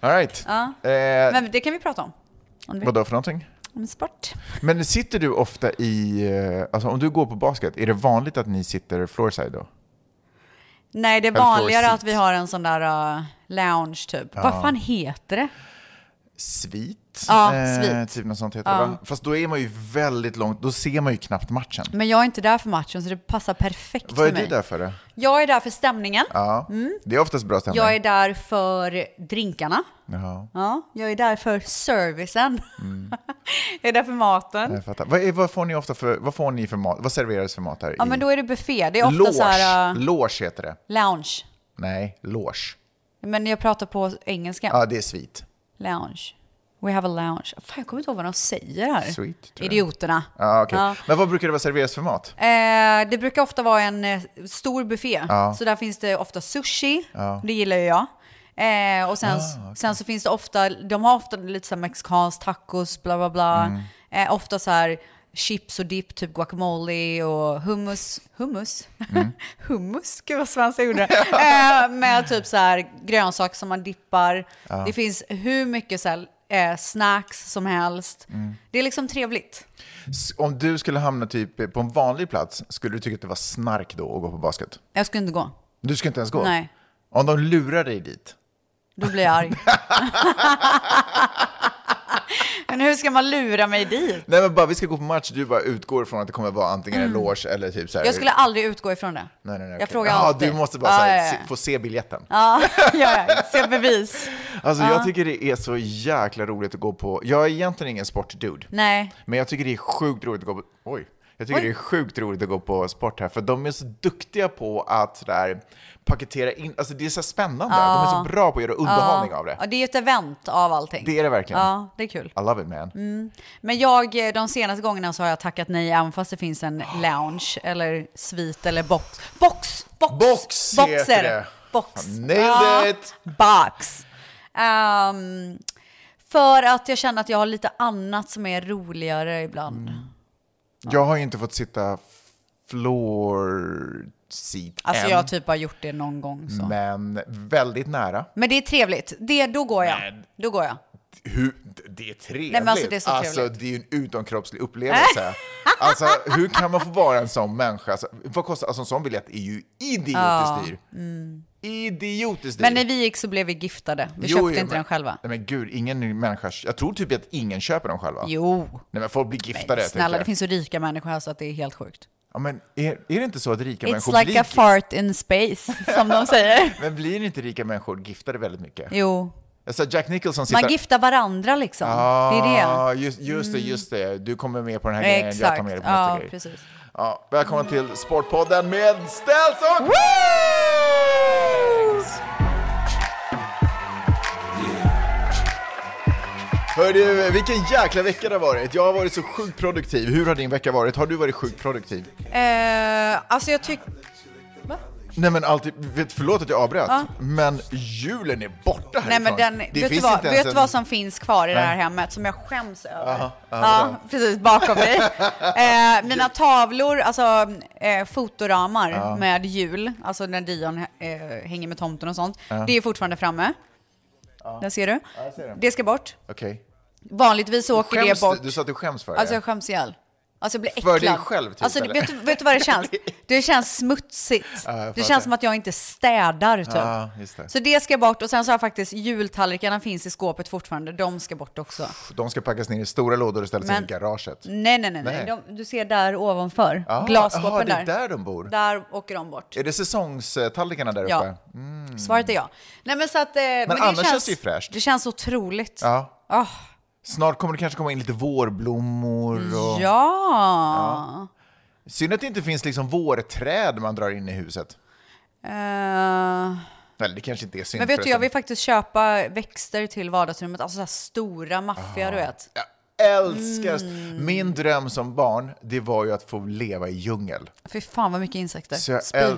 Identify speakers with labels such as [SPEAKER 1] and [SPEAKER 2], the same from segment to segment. [SPEAKER 1] Alright.
[SPEAKER 2] Ja.
[SPEAKER 1] Eh,
[SPEAKER 2] Men det kan vi prata om. Om, du vill.
[SPEAKER 1] vadå för någonting?
[SPEAKER 2] om sport.
[SPEAKER 1] Men sitter du ofta i, eh, alltså om du går på basket, är det vanligt att ni sitter floorside då?
[SPEAKER 2] Nej, det är
[SPEAKER 1] Eller floor
[SPEAKER 2] vanligare
[SPEAKER 1] seat.
[SPEAKER 2] att vi har en sån där uh, lounge typ. Vad fan heter det?
[SPEAKER 1] Svit?
[SPEAKER 2] Ja, svit.
[SPEAKER 1] Typ något sånt heter det va? Fast då är man ju väldigt långt, då ser man ju knappt matchen.
[SPEAKER 2] Men jag är inte där för matchen så det passar perfekt
[SPEAKER 1] Vad är
[SPEAKER 2] för mig.
[SPEAKER 1] du där för då?
[SPEAKER 2] Jag är där för stämningen.
[SPEAKER 1] Ja, det är oftast bra stämning.
[SPEAKER 2] Mm. Jag är där för drinkarna.
[SPEAKER 1] Jaha,
[SPEAKER 2] Ja, jag är där för servicen.
[SPEAKER 1] Mm.
[SPEAKER 2] jag är där för maten.
[SPEAKER 1] jag fattar. Vad, är, vad får ni ofta för, vad får ni för mat? Vad serveras för mat här?
[SPEAKER 2] Ja,
[SPEAKER 1] i-
[SPEAKER 2] men då är det buffé. Det är ofta
[SPEAKER 1] Loge.
[SPEAKER 2] så här uh,
[SPEAKER 1] Loge heter det.
[SPEAKER 2] lounge.
[SPEAKER 1] Nej, loge.
[SPEAKER 2] Men jag pratar på engelska.
[SPEAKER 1] Ja, det är svit.
[SPEAKER 2] Lounge. We have a lounge. Fan, jag kommer inte ihåg vad de säger här.
[SPEAKER 1] Sweet, tror jag.
[SPEAKER 2] Idioterna.
[SPEAKER 1] Ja, okej.
[SPEAKER 2] Ja.
[SPEAKER 1] Men vad brukar det vara serveras för mat?
[SPEAKER 2] Eh, det brukar ofta vara en eh, stor buffé.
[SPEAKER 1] Ja.
[SPEAKER 2] Så där finns det ofta sushi. Det gillar ju jag. Eh, och sen, sen så finns det ofta, de har ofta lite så här mexikansk tacos, bla bla bla. Eh, ofta så här chips och dipp, typ guacamole och hummus. Hummus? hummus? Gud vad svenskt jag gjorde. eh, med typ så här grönsaker som man dippar. Det finns hur mycket så här, eh, snacks som helst. Det är liksom trevligt.
[SPEAKER 1] S- Om du skulle hamna typ på en vanlig plats, skulle du tycka att det var snark då att gå på basket?
[SPEAKER 2] Jag skulle inte gå.
[SPEAKER 1] Du skulle inte ens gå?
[SPEAKER 2] Nej.
[SPEAKER 1] Om de lurar dig dit?
[SPEAKER 2] Då blir jag arg. Men hur ska man lura mig dit?
[SPEAKER 1] Nej men bara, vi ska gå på match, du bara utgår från att det kommer vara antingen en loge eller typ så här.
[SPEAKER 2] Mm. Jag skulle aldrig utgå ifrån det.
[SPEAKER 1] Nej, nej, nej,
[SPEAKER 2] jag
[SPEAKER 1] okej.
[SPEAKER 2] frågar
[SPEAKER 1] Jaha,
[SPEAKER 2] alltid.
[SPEAKER 1] Du måste bara
[SPEAKER 2] Ja,
[SPEAKER 1] så här,
[SPEAKER 2] ja, ja.
[SPEAKER 1] se- få se biljetten.
[SPEAKER 2] Ja, ja, ja. Se bevis.
[SPEAKER 1] Alltså jag tycker det är så jäkla roligt att gå på, jag är egentligen ingen sportdude.
[SPEAKER 2] Nej.
[SPEAKER 1] Men jag tycker det är sjukt roligt att gå på... Oj. Jag tycker
[SPEAKER 2] Oj.
[SPEAKER 1] det är sjukt roligt att gå på sport här, för de är så duktiga på att där, paketera in... Alltså det är så spännande. De är så bra på att göra underhållning av det.
[SPEAKER 2] Ja, det är ju ett event av allting.
[SPEAKER 1] Det är det verkligen.
[SPEAKER 2] Ja, Mm. det är kul.
[SPEAKER 1] I love it man.
[SPEAKER 2] Men jag, eh, de senaste gångerna så har jag tackat nej även fast det finns en lounge eller svit eller box. Box! Box!
[SPEAKER 1] Box heter
[SPEAKER 2] Boxer.
[SPEAKER 1] det.
[SPEAKER 2] Box.
[SPEAKER 1] Nailed
[SPEAKER 2] Ja,
[SPEAKER 1] it.
[SPEAKER 2] Box. Ehm, för att jag känner att jag har lite annat som är roligare ibland.
[SPEAKER 1] Mm. Jag har ju inte fått sitta floor seat
[SPEAKER 2] Alltså
[SPEAKER 1] än, Mm.
[SPEAKER 2] jag har typ bara gjort det någon gång så.
[SPEAKER 1] men väldigt nära.
[SPEAKER 2] Men det är trevligt. Det, då går jag.
[SPEAKER 1] Men-
[SPEAKER 2] Då går jag.
[SPEAKER 1] Hur, det är trevligt.
[SPEAKER 2] men alltså, det är så
[SPEAKER 1] alltså,
[SPEAKER 2] trevligt.
[SPEAKER 1] det är ju en utomkroppslig upplevelse. alltså, hur kan man få vara en sån människa? Alltså, vad kostar, alltså, en sån biljett är ju idiotiskt dyr. Idiotiskt dyr.
[SPEAKER 2] Mm. Men när vi gick så blev vi giftade. Vi
[SPEAKER 1] Jo,
[SPEAKER 2] köpte
[SPEAKER 1] jo,
[SPEAKER 2] inte
[SPEAKER 1] men-
[SPEAKER 2] den själva.
[SPEAKER 1] Nej, men gud, ingen människa. Jag tror typ att ingen köper dem själva.
[SPEAKER 2] Jo.
[SPEAKER 1] Nej, men folk blir giftade.
[SPEAKER 2] Men, snälla, det
[SPEAKER 1] tänker jag.
[SPEAKER 2] finns så rika människor här så att det är helt sjukt.
[SPEAKER 1] ja, men är, är det inte så att rika
[SPEAKER 2] It's
[SPEAKER 1] människor
[SPEAKER 2] like
[SPEAKER 1] blir...
[SPEAKER 2] a fart in space, som de säger.
[SPEAKER 1] men blir inte rika människor giftade väldigt mycket?
[SPEAKER 2] Jo,
[SPEAKER 1] Alltså Jack Nicholson sitter...
[SPEAKER 2] man giftar varandra liksom. det är det.
[SPEAKER 1] Ah, just, just det, just det. Du kommer med på den här grejen, jag tar
[SPEAKER 2] Exakt.
[SPEAKER 1] med dig på nästa
[SPEAKER 2] Ja,
[SPEAKER 1] grej.
[SPEAKER 2] precis.
[SPEAKER 1] Ja, välkomna till Sportpodden med Ställs och Wings! Hörru, vilken jäkla vecka det har varit. Jag har varit så sjukt produktiv. Hur har din vecka varit? Har du varit sjukt produktiv?
[SPEAKER 2] Eh, alltså jag tycker...
[SPEAKER 1] Nej men alltid, vet, förlåt att jag avbröt, men julen är borta
[SPEAKER 2] Nej
[SPEAKER 1] härifrån.
[SPEAKER 2] men den,
[SPEAKER 1] det
[SPEAKER 2] vet du
[SPEAKER 1] finns
[SPEAKER 2] vad,
[SPEAKER 1] inte ens
[SPEAKER 2] vet du
[SPEAKER 1] en...
[SPEAKER 2] vad som finns kvar i det här
[SPEAKER 1] Nej.
[SPEAKER 2] hemmet som jag skäms över?
[SPEAKER 1] ja,
[SPEAKER 2] ja, precis, bakom dig. Eh, mina tavlor, alltså eh, fotoramar med jul, alltså när Dion eh, hänger med tomten och sånt, det är fortfarande framme. Där ser du.
[SPEAKER 1] jag ser det.
[SPEAKER 2] ska bort.
[SPEAKER 1] Okej.
[SPEAKER 2] Vanligtvis så åker
[SPEAKER 1] Skäms
[SPEAKER 2] det bort.
[SPEAKER 1] du? Du sa att du skäms för
[SPEAKER 2] Alltså
[SPEAKER 1] det?
[SPEAKER 2] jag skäms ihjäl. Alltså jag blir äcklad.
[SPEAKER 1] För dig själv, typ,
[SPEAKER 2] Alltså,
[SPEAKER 1] eller?
[SPEAKER 2] vet, du, vet du vad det känns? Det känns smutsigt.
[SPEAKER 1] jag
[SPEAKER 2] det
[SPEAKER 1] fattar.
[SPEAKER 2] känns som att jag inte städar typ.
[SPEAKER 1] Ja, just det.
[SPEAKER 2] Så det ska bort och sen så har jag faktiskt jultallrikarna finns i skåpet fortfarande. De ska bort också.
[SPEAKER 1] De ska packas ner i stora lådor och ställas in i
[SPEAKER 2] Men-
[SPEAKER 1] garaget.
[SPEAKER 2] Nej, nej, nej. nej.
[SPEAKER 1] Nej.
[SPEAKER 2] De, du ser där ovanför.
[SPEAKER 1] Ah,
[SPEAKER 2] glasskåpen
[SPEAKER 1] aha, det
[SPEAKER 2] där.
[SPEAKER 1] är där de bor.
[SPEAKER 2] Där åker de bort.
[SPEAKER 1] Är det säsongstallrikarna där
[SPEAKER 2] Ja.
[SPEAKER 1] uppe? Mm.
[SPEAKER 2] Svaret är ja. Nej, men så att... eh, Men,
[SPEAKER 1] annars känns det ju fräscht.
[SPEAKER 2] Det känns otroligt.
[SPEAKER 1] Ja.
[SPEAKER 2] Ah,
[SPEAKER 1] Snart kommer det kanske komma in lite vårblommor och...
[SPEAKER 2] ja.
[SPEAKER 1] Synd att det inte finns liksom vårträd man drar in i huset.
[SPEAKER 2] Eh,
[SPEAKER 1] Eller det kanske inte är synd
[SPEAKER 2] Men vet du, jag
[SPEAKER 1] förresten.
[SPEAKER 2] vill faktiskt köpa växter till vardagsrummet. Alltså så här stora, maffiga,
[SPEAKER 1] Ah.
[SPEAKER 2] du vet.
[SPEAKER 1] Jag älskar...
[SPEAKER 2] Mm.
[SPEAKER 1] Min dröm som barn, det var ju att få leva i djungel.
[SPEAKER 2] Fy fan vad mycket insekter.
[SPEAKER 1] Så jag
[SPEAKER 2] Spy.
[SPEAKER 1] äl...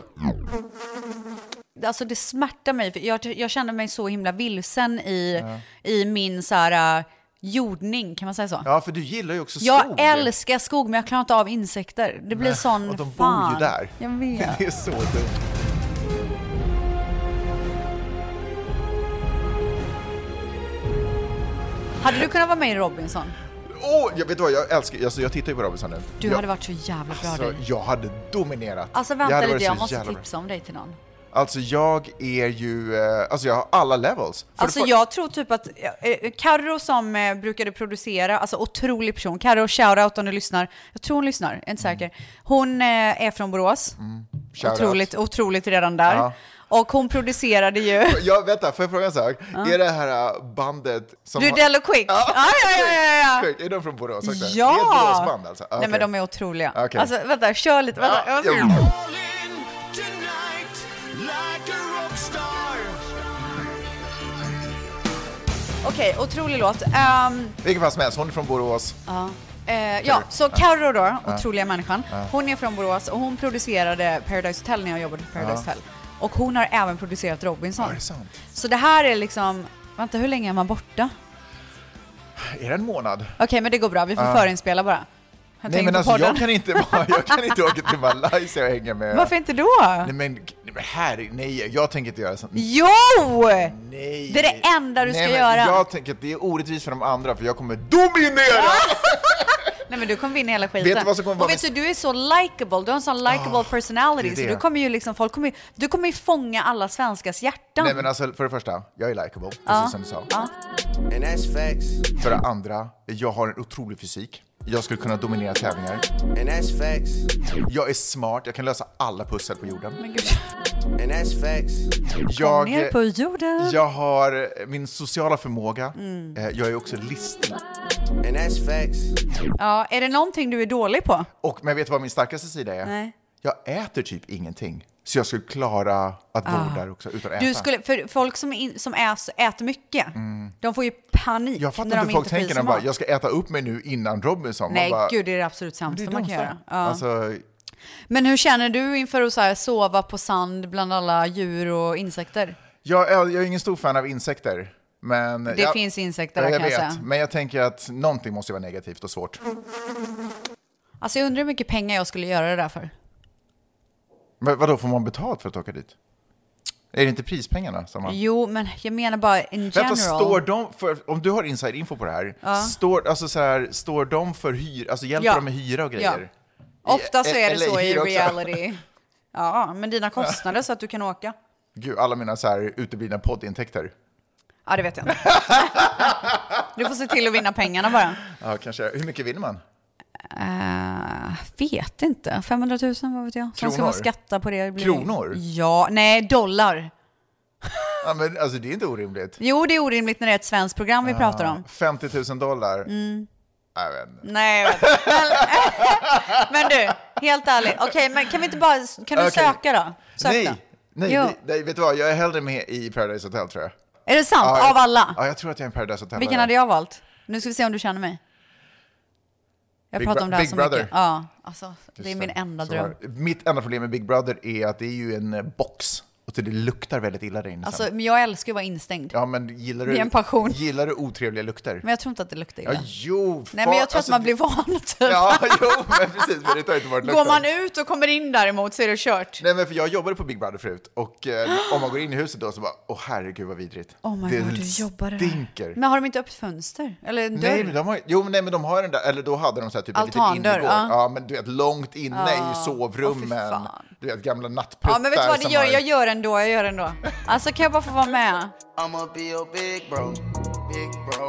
[SPEAKER 2] Alltså det smärtar mig. För jag, jag känner mig så himla vilsen i, i min så här, äh, jordning, kan man säga så?
[SPEAKER 1] Ja, för du gillar ju också skog.
[SPEAKER 2] Jag älskar skog men jag klarar inte av insekter. Det blir sån
[SPEAKER 1] Och de bor
[SPEAKER 2] fan.
[SPEAKER 1] ju där.
[SPEAKER 2] Jag vet.
[SPEAKER 1] Det är så dumt.
[SPEAKER 2] Hade du kunnat vara med i Robinson?
[SPEAKER 1] Åh, jag vet du vad, jag älskar, alltså, jag tittar ju på Robinson nu.
[SPEAKER 2] Du
[SPEAKER 1] jag,
[SPEAKER 2] hade varit så jävla bra
[SPEAKER 1] alltså,
[SPEAKER 2] dig.
[SPEAKER 1] jag hade dominerat.
[SPEAKER 2] Alltså
[SPEAKER 1] jag
[SPEAKER 2] vänta
[SPEAKER 1] hade varit
[SPEAKER 2] lite,
[SPEAKER 1] så
[SPEAKER 2] jag måste
[SPEAKER 1] jävla bra.
[SPEAKER 2] tipsa om dig till någon.
[SPEAKER 1] Alltså jag är ju, eh, alltså jag har alla levels. För det
[SPEAKER 2] Alltså
[SPEAKER 1] för-
[SPEAKER 2] jag tror typ att eh, Carro som eh, brukade producera, alltså otrolig person, Carro shoutout om du lyssnar, jag tror hon lyssnar, jag är inte
[SPEAKER 1] Mm.
[SPEAKER 2] säker. Hon eh, är från Borås,
[SPEAKER 1] Shoutout.
[SPEAKER 2] otroligt, otroligt redan där.
[SPEAKER 1] Ja.
[SPEAKER 2] Och hon producerade ju
[SPEAKER 1] Ja, vänta, får jag fråga en sak? Är det här eh, bandet som...
[SPEAKER 2] Du
[SPEAKER 1] har-
[SPEAKER 2] Dell och Quick.
[SPEAKER 1] Ja,
[SPEAKER 2] Ja, ja, ja, ja, ja.
[SPEAKER 1] Sjukt, är de från Borås också? Det är ett
[SPEAKER 2] Ja!
[SPEAKER 1] Boråsband alltså?
[SPEAKER 2] Nej men de är otroliga.
[SPEAKER 1] Okej.
[SPEAKER 2] Alltså vänta, kör lite. Vänta.
[SPEAKER 1] Ja,
[SPEAKER 2] jag-
[SPEAKER 1] jo.
[SPEAKER 3] All in tonight like a rock star.
[SPEAKER 2] Okej, otrolig låt. Ehm,
[SPEAKER 1] Vilken fall som helst, hon är från Borås.
[SPEAKER 2] Eh, ja, så Carro då, otroliga människan, hon är från Borås och hon producerade Paradise Hotel när jag jobbade på Paradise Hotel. Och hon har även producerat Robinson.
[SPEAKER 1] Är det sant?
[SPEAKER 2] Så det här är liksom, vänta hur länge är man borta?
[SPEAKER 1] Är det en månad?
[SPEAKER 2] Okej men det går bra, vi får förinspela bara. Jag
[SPEAKER 1] Nej men
[SPEAKER 2] tänker på
[SPEAKER 1] alltså
[SPEAKER 2] podden.
[SPEAKER 1] jag kan, inte, vara- jag kan inte åka till Malaysia och hänga med...
[SPEAKER 2] Varför inte då?
[SPEAKER 1] Nej men, nej, men här, nej, jag tänker inte göra sånt.
[SPEAKER 2] Jo!
[SPEAKER 1] Nej.
[SPEAKER 2] Det är det enda du
[SPEAKER 1] nej,
[SPEAKER 2] ska
[SPEAKER 1] men
[SPEAKER 2] göra.
[SPEAKER 1] Jag tänker att det är orättvist för de andra för jag kommer dominera!
[SPEAKER 2] Nej men du kommer vinna hela skiten.
[SPEAKER 1] Vet du vad som kommer vara
[SPEAKER 2] och vet du,
[SPEAKER 1] min-
[SPEAKER 2] du är så likable, du har en sån likable personality.
[SPEAKER 1] det är
[SPEAKER 2] Så
[SPEAKER 1] det.
[SPEAKER 2] du kommer ju liksom, folk kommer ju, du kommer ju fånga alla svenskars hjärtan.
[SPEAKER 1] Nej men alltså för det första, jag är likable, precis som du sa.
[SPEAKER 3] And that's facts.
[SPEAKER 1] För det andra, jag har en otrolig fysik. Jag skulle kunna dominera tävlingar.
[SPEAKER 3] And that's facts.
[SPEAKER 1] Jag är smart, jag kan lösa alla pussel på jorden.
[SPEAKER 2] men gud,
[SPEAKER 3] And that's facts.
[SPEAKER 1] Jag,
[SPEAKER 2] ner på jorden.
[SPEAKER 1] jag har min sociala förmåga.
[SPEAKER 2] Mm.
[SPEAKER 1] Eh, Jag är också listig.
[SPEAKER 3] And that's facts.
[SPEAKER 2] Ja, är det någonting du är dålig på?
[SPEAKER 1] Och, men vet du vad min starkaste sida är?
[SPEAKER 2] Nej.
[SPEAKER 1] Jag äter typ ingenting. Så jag skulle klara att bo där också utan att
[SPEAKER 2] Ah.
[SPEAKER 1] äta.
[SPEAKER 2] Du
[SPEAKER 1] Mm.
[SPEAKER 2] skulle, för folk som, in, som äs, äter mycket, de får ju panik
[SPEAKER 1] Jag fattar
[SPEAKER 2] när
[SPEAKER 1] inte hur
[SPEAKER 2] de
[SPEAKER 1] folk
[SPEAKER 2] inte får i
[SPEAKER 1] tänker.
[SPEAKER 2] sig
[SPEAKER 1] De bara,
[SPEAKER 2] mat.
[SPEAKER 1] jag ska äta upp mig nu innan Robinson. Man
[SPEAKER 2] Nej,
[SPEAKER 1] bara,
[SPEAKER 2] gud, det är det absolut sämsta man kan göra. Ja.
[SPEAKER 1] Alltså,
[SPEAKER 2] Men hur känner du inför att så här, sova på sand bland alla djur och insekter?
[SPEAKER 1] jag, är- jag är ingen stor fan av insekter. Men
[SPEAKER 2] Det finns insekter
[SPEAKER 1] ja,
[SPEAKER 2] där,
[SPEAKER 1] jag
[SPEAKER 2] kan jag
[SPEAKER 1] vet.
[SPEAKER 2] säga.
[SPEAKER 1] Men jag tänker att någonting måste ju vara negativt och svårt.
[SPEAKER 2] Alltså jag undrar hur mycket pengar jag skulle göra det där för.
[SPEAKER 1] Men vadå, får man betalt för att åka dit? Är det inte prispengarna som man...
[SPEAKER 2] Jo, men jag menar bara in
[SPEAKER 1] Vänta,
[SPEAKER 2] general.
[SPEAKER 1] står de för, om du har inside info på det här, står, alltså så här, står de för hyra, alltså hjälper
[SPEAKER 2] Ja.
[SPEAKER 1] de med hyra och grejer?
[SPEAKER 2] Ofta så
[SPEAKER 1] I-
[SPEAKER 2] är det
[SPEAKER 1] eller
[SPEAKER 2] så i
[SPEAKER 1] hyra också.
[SPEAKER 2] reality. Ja, men dina kostnader så att du kan åka.
[SPEAKER 1] Gud, alla mina så här uteblivna poddintäkter.
[SPEAKER 2] Ja, det vet jag inte. Du får se till att vinna pengarna bara.
[SPEAKER 1] Ja, kanske. Hur mycket vinner man?
[SPEAKER 2] Eh, vet inte. 500 000, vad vet jag? Sen ska
[SPEAKER 1] Kronor?
[SPEAKER 2] man skatta på det. det blir-
[SPEAKER 1] Kronor?
[SPEAKER 2] Ja, nej, dollar.
[SPEAKER 1] Ja, men, alltså det är inte orimligt.
[SPEAKER 2] Jo, det är orimligt när det är ett svenskt program
[SPEAKER 1] Ah.
[SPEAKER 2] vi pratar om.
[SPEAKER 1] 50 000 dollar. Mm. Jag vet inte.
[SPEAKER 2] Nej, jag vet inte. men, men du, helt ärligt. Okej, men kan vi inte bara... Kan du
[SPEAKER 1] Okej.
[SPEAKER 2] söka då? Sök
[SPEAKER 1] Nej,
[SPEAKER 2] då.
[SPEAKER 1] nej,
[SPEAKER 2] Jo.
[SPEAKER 1] nej, nej, vet du vad? Jag är hellre med i Paradise Hotel tror jag.
[SPEAKER 2] Är det sant?
[SPEAKER 1] jag,
[SPEAKER 2] Av alla?
[SPEAKER 1] Ja, jag tror att jag är en Paradise Hotel.
[SPEAKER 2] Vilken hade jag valt? Nu ska vi se om du känner mig. Jag
[SPEAKER 1] Big
[SPEAKER 2] pratar
[SPEAKER 1] Bro-
[SPEAKER 2] om det här
[SPEAKER 1] Big
[SPEAKER 2] så
[SPEAKER 1] Brother.
[SPEAKER 2] mycket. Ja, alltså, det är min enda dröm.
[SPEAKER 1] Mitt enda problem med Big Brother är att det är ju en eh, box och det luktar väldigt illa där inne
[SPEAKER 2] Alltså,
[SPEAKER 1] sen.
[SPEAKER 2] men jag älskar ju att vara instängd.
[SPEAKER 1] Ja, men gillar du,
[SPEAKER 2] det är en passion.
[SPEAKER 1] Gillar du otrevliga lukter?
[SPEAKER 2] Men jag tror inte att det luktar illa.
[SPEAKER 1] ja, jo!
[SPEAKER 2] Nej, men
[SPEAKER 1] fan,
[SPEAKER 2] jag tror att
[SPEAKER 1] alltså,
[SPEAKER 2] man
[SPEAKER 1] det-
[SPEAKER 2] blir van typ.
[SPEAKER 1] Ja, jo, men precis. Men det tar inte bort
[SPEAKER 2] Går
[SPEAKER 1] lukten.
[SPEAKER 2] man ut och kommer in däremot så är det kört.
[SPEAKER 1] Nej, men för jag jobbade på Big Brother förut och eh, om man går in i huset då så bara, åh herregud vad vidrigt.
[SPEAKER 2] Oh my
[SPEAKER 1] det
[SPEAKER 2] god, du jobbar där.
[SPEAKER 1] stinker.
[SPEAKER 2] Men har de inte öppet fönster? Eller en dörr?
[SPEAKER 1] Nej men, de har, jo, men nej men de har den där, eller då hade de så här typ en liten
[SPEAKER 2] Altandörr,
[SPEAKER 1] innergård.
[SPEAKER 2] ja.
[SPEAKER 1] Ja. men du vet långt inne i
[SPEAKER 2] åh, fy
[SPEAKER 1] sovrummen.
[SPEAKER 2] fan.
[SPEAKER 1] du vet gamla nattpruttar
[SPEAKER 2] ja, men vet du vad, det
[SPEAKER 1] som
[SPEAKER 2] gör,
[SPEAKER 1] har-
[SPEAKER 2] jag gör ändå, jag gör ändå. Alltså kan jag bara få vara med?
[SPEAKER 3] I'ma be your big bro. Big bro.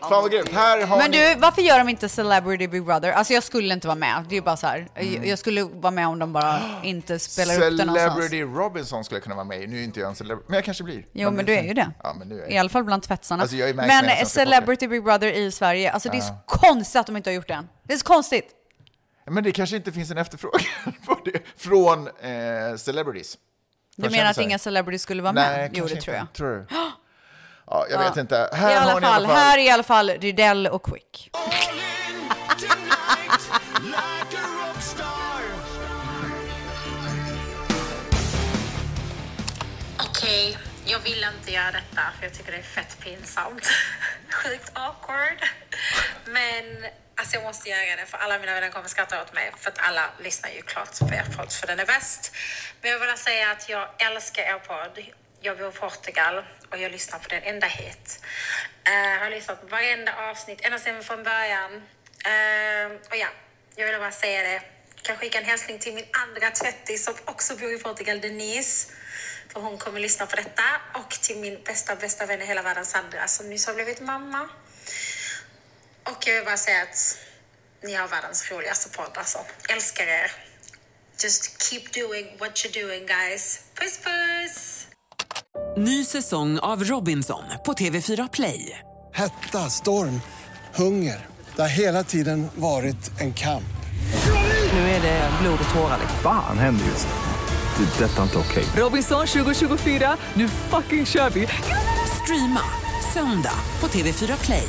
[SPEAKER 3] I'ma
[SPEAKER 1] Fan vad grymt, här har
[SPEAKER 2] Men
[SPEAKER 1] ni...
[SPEAKER 2] du, varför gör de inte Celebrity Big Brother? Alltså jag skulle inte vara med, det är ju bara så här.
[SPEAKER 1] Mm.
[SPEAKER 2] Jag- Jag skulle vara med om de bara inte spelar upp det någonstans.
[SPEAKER 1] Celebrity Robinson skulle jag kunna vara med i. Nu är inte jag en celebrity, men jag kanske blir.
[SPEAKER 2] Jo, men du är ju det.
[SPEAKER 1] Ja, men nu är
[SPEAKER 2] I
[SPEAKER 1] jag.
[SPEAKER 2] alla fall bland tvättsarna.
[SPEAKER 1] Alltså, jag är med i
[SPEAKER 2] men
[SPEAKER 1] Svenska
[SPEAKER 2] Celebrity Big Brother i Sverige, alltså det är så konstigt att de inte har gjort det än. Det är så konstigt.
[SPEAKER 1] Men det kanske inte finns en efterfrågan på det från eh, celebrities.
[SPEAKER 2] Du
[SPEAKER 1] Från
[SPEAKER 2] menar att
[SPEAKER 1] kändisar.
[SPEAKER 2] inga celebrities skulle vara
[SPEAKER 1] Nej,
[SPEAKER 2] med? Jo,
[SPEAKER 1] kanske
[SPEAKER 2] det tror jag.
[SPEAKER 1] inte. Tror du? Ja, jag vet inte.
[SPEAKER 2] I
[SPEAKER 1] Här har
[SPEAKER 2] alla
[SPEAKER 1] ni i alla
[SPEAKER 2] fall,
[SPEAKER 1] fall...
[SPEAKER 2] här är i alla fall Rydell och Quick.
[SPEAKER 3] All in tonight like a rock star.
[SPEAKER 4] Okej, jag vill inte göra detta för jag tycker det är fett pinsamt. Sjukt awkward. Men alltså jag måste göra det för alla mina vänner kommer skratta åt mig för att alla lyssnar ju klart på er podd för den är bäst. Men jag vill bara säga att jag älskar er podd. jag bor i Portugal och jag lyssnar på den enda hit. Eh, har lyssnat på varenda avsnitt, ända sedan från början. Eh, och ja, jag ville bara säga det. Kan skicka en hälsning till min andra tvättis som också bor i Portugal, Denise. För hon kommer lyssna på detta. Och till min bästa, bästa vän i hela världen, Sandra, som nyss har blivit mamma. Och jag vill bara säga att ni har världens roligaste podd alltså. Älskar er. Just keep doing what you're doing guys. Puss puss!
[SPEAKER 5] Ny säsong av Robinson på TV4 Play.
[SPEAKER 6] Hetta, storm, hunger. Det har hela tiden varit en kamp.
[SPEAKER 5] Nu är det blod och tårar. liksom.
[SPEAKER 7] Fan händer just nu. det. är Detta är inte okej.
[SPEAKER 5] Robinson 2024, nu fucking kör vi! Streama söndag på TV4 Play.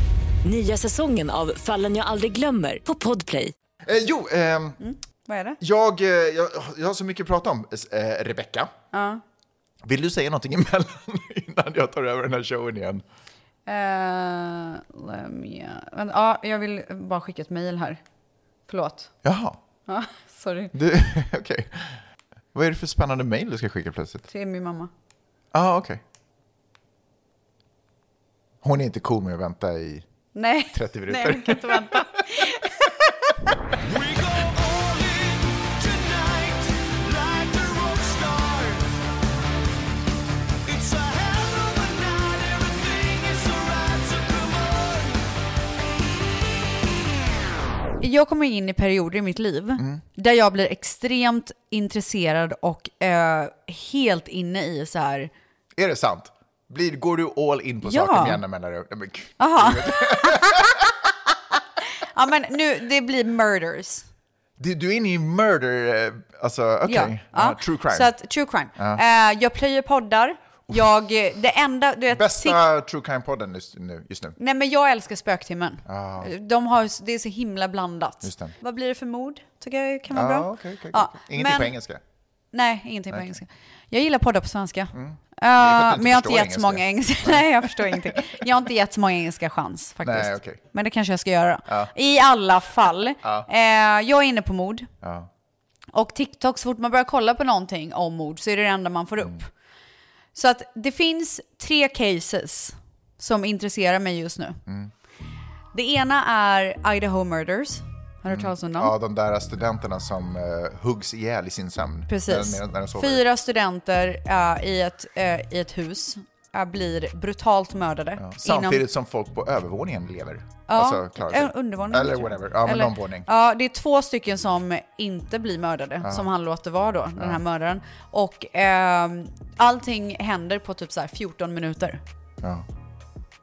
[SPEAKER 8] Nya säsongen av Fallen jag aldrig glömmer på Podplay.
[SPEAKER 1] Eh, jo, ehm,
[SPEAKER 2] Vad är det?
[SPEAKER 1] jag, eh, jag, jag har så mycket att prata om. Eh, Rebecka, vill du säga någonting emellan innan jag tar över den här showen igen?
[SPEAKER 2] Eh, let me, vänta, ja, jag vill bara skicka ett mejl här. Förlåt.
[SPEAKER 1] Jaha,
[SPEAKER 2] Ja, sorry.
[SPEAKER 1] du- okej. Vad är det för spännande mejl du ska skicka plötsligt?
[SPEAKER 2] Till min mamma.
[SPEAKER 1] Ja, ah, okej. Hon är inte cool med att vänta i...
[SPEAKER 2] Nej.
[SPEAKER 1] 30 minuter.
[SPEAKER 2] Nej, jag kan inte vänta.
[SPEAKER 3] We go all in tonight, like a rock star. It's a hell of a night, everything is alright, so come on.
[SPEAKER 2] Jag kommer in i perioder i mitt liv
[SPEAKER 1] Mm.
[SPEAKER 2] där jag blir extremt intresserad och eh, helt inne i så här,
[SPEAKER 1] Är det sant? Blir, går du all in på
[SPEAKER 2] Ja. Ah.
[SPEAKER 1] saker med jämna mellanrum? Nej, men gud.
[SPEAKER 2] ja men nu, det blir murders.
[SPEAKER 1] Du, du är inne i murder, eh, alltså okej.
[SPEAKER 2] Ja,
[SPEAKER 1] Ja,
[SPEAKER 2] ja.
[SPEAKER 1] true crime.
[SPEAKER 2] Så att, true crime. Eh, jag plöjer poddar. Jag, eh, det enda, du vet, Tik-
[SPEAKER 1] Bästa true crime-podden just nu. Just nu.
[SPEAKER 2] Nej men jag älskar spöktimmen. Eh, De har, det är så himla blandat.
[SPEAKER 1] Ah. Just det.
[SPEAKER 2] Vad blir det för mord? Tycker jag kan vara
[SPEAKER 1] Ja,
[SPEAKER 2] bra.
[SPEAKER 1] Ah, okej, okej,
[SPEAKER 2] Ja,
[SPEAKER 1] okej. Ingenting
[SPEAKER 2] men-
[SPEAKER 1] på engelska.
[SPEAKER 2] Nej, ingenting på engelska. Jag gillar poddar på svenska.
[SPEAKER 1] Mm.
[SPEAKER 2] Eh,
[SPEAKER 1] att du inte
[SPEAKER 2] men jag har inte
[SPEAKER 1] förstår
[SPEAKER 2] gett så många engelska. Nej, jag förstår ingenting. Jag har inte gett så många engelska chans faktiskt.
[SPEAKER 1] Nej, okej.
[SPEAKER 2] Men det kanske jag ska göra. I alla fall. Eh, jag är inne på mord.
[SPEAKER 1] Ja.
[SPEAKER 2] Och TikTok, så fort man börjar kolla på någonting om mord så är det det enda man får upp.
[SPEAKER 1] Mm.
[SPEAKER 2] Så att det finns tre cases som intresserar mig just nu.
[SPEAKER 1] Mm.
[SPEAKER 2] Det ena är Idaho Murders. Har du hört talas om dem?
[SPEAKER 1] Mm. Ja, de där studenterna som eh, huggs ihjäl i sin sömn.
[SPEAKER 2] Precis.
[SPEAKER 1] När, när de sover.
[SPEAKER 2] Fyra studenter eh, i, ett, eh, i ett hus eh, blir brutalt mördade. inom-
[SPEAKER 1] Samtidigt som folk på övervåningen lever.
[SPEAKER 2] Ja,
[SPEAKER 1] alltså, klarar sig.
[SPEAKER 2] en undervåning.
[SPEAKER 1] Eller
[SPEAKER 2] tror jag.
[SPEAKER 1] whatever. Ja, men
[SPEAKER 2] Eller-
[SPEAKER 1] någon våning.
[SPEAKER 2] Ja, det är två stycken som inte blir mördade, som han låter vara då, den här mördaren. Och ehm, allting händer på typ så här 14 minuter.
[SPEAKER 1] Ja.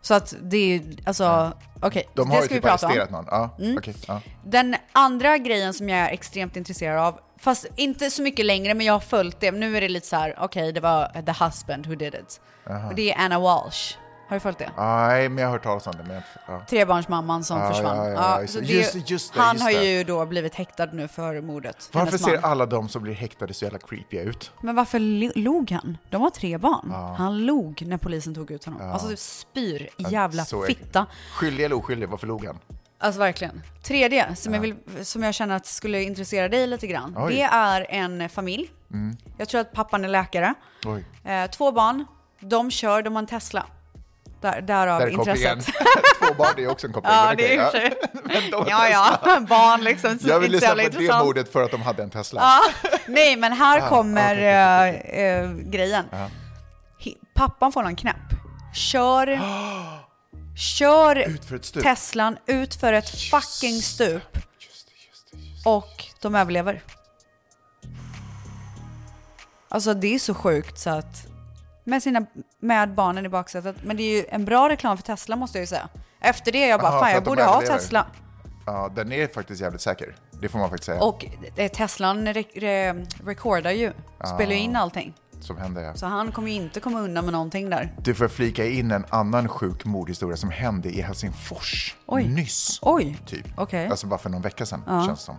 [SPEAKER 2] Så att det är, alltså, okej,
[SPEAKER 1] De
[SPEAKER 2] det
[SPEAKER 1] har ju
[SPEAKER 2] ska vi
[SPEAKER 1] typ
[SPEAKER 2] prata om. Mm.
[SPEAKER 1] arresterat någon. Ja, okej, ja.
[SPEAKER 2] Den andra grejen som jag är extremt intresserad av, fast inte så mycket längre, men jag har följt det. Nu är det lite så här, okej, det var the husband who did it. Och det är Anna Walsh. Har du följt det?
[SPEAKER 1] Nej, men jag har hört talas om det. Men jag, ja.
[SPEAKER 2] Trebarnsmamman som
[SPEAKER 1] Ja,
[SPEAKER 2] försvann.
[SPEAKER 1] ja, ja,
[SPEAKER 2] Ja,
[SPEAKER 1] just
[SPEAKER 2] så
[SPEAKER 1] det,
[SPEAKER 2] det är ju-
[SPEAKER 1] just det, just det,
[SPEAKER 2] han
[SPEAKER 1] just
[SPEAKER 2] har
[SPEAKER 1] det.
[SPEAKER 2] ju då blivit häktad nu för mordet.
[SPEAKER 1] Varför
[SPEAKER 2] Hennes
[SPEAKER 1] ser
[SPEAKER 2] man.
[SPEAKER 1] alla de som blir häktade så jävla creepy ut?
[SPEAKER 2] Men varför lo- log han? De har tre barn. Han log när polisen tog ut honom. Alltså spyr, jävla
[SPEAKER 1] Så är-
[SPEAKER 2] fitta.
[SPEAKER 1] Skyldig eller oskyldig, varför log han?
[SPEAKER 2] Alltså verkligen. Tredje, som, jag vill, som jag känner att skulle intressera dig lite grann.
[SPEAKER 1] Oj. Mm.
[SPEAKER 2] Det är en eh, familj. Jag tror att pappan är läkare.
[SPEAKER 1] Oj.
[SPEAKER 2] Eh, två barn. De kör, de har en Tesla. Där, därav
[SPEAKER 1] Där är kopplingen.
[SPEAKER 2] intresset.
[SPEAKER 1] Två barn är också en koppling.
[SPEAKER 2] Ja,
[SPEAKER 1] men
[SPEAKER 2] det
[SPEAKER 1] okej,
[SPEAKER 2] är i och för sig.
[SPEAKER 1] Men de-
[SPEAKER 2] Ja, ja. Barn liksom.
[SPEAKER 1] Jag vill
[SPEAKER 2] inte så
[SPEAKER 1] lyssna
[SPEAKER 2] jävla
[SPEAKER 1] på det
[SPEAKER 2] intressant.
[SPEAKER 1] mordet för att de hade en Tesla.
[SPEAKER 2] Nej, men här
[SPEAKER 1] Ah,
[SPEAKER 2] kommer
[SPEAKER 1] okej, okej, okej,
[SPEAKER 2] eh, eh, grejen. Hi- Pappan får någon knäpp. Kör, kör
[SPEAKER 1] Ut för ett stup.
[SPEAKER 2] Teslan ut för ett fucking stup. Och de överlever. Alltså det är så sjukt så att... Med, sina, med barnen i baksätet. Men det är ju en bra reklam för Tesla måste jag ju säga. Efter det är jag bara,
[SPEAKER 1] Aha,
[SPEAKER 2] fan
[SPEAKER 1] för
[SPEAKER 2] jag
[SPEAKER 1] att de
[SPEAKER 2] borde ha
[SPEAKER 1] överlever.
[SPEAKER 2] Tesla.
[SPEAKER 1] Ja, den är faktiskt jävligt säker. Det får man faktiskt säga. Ah.
[SPEAKER 2] Och eh, Teslan re- re- recordar ju, spelar ju in allting.
[SPEAKER 1] som hände. ja.
[SPEAKER 2] Så han kommer ju inte komma undan med någonting där.
[SPEAKER 1] Du får flika in en annan sjuk mordhistoria som hände i Helsingfors nyss.
[SPEAKER 2] Oj.
[SPEAKER 1] Typ.
[SPEAKER 2] Okej.
[SPEAKER 1] Alltså bara för någon vecka sedan,
[SPEAKER 2] Ja.
[SPEAKER 1] känns det som.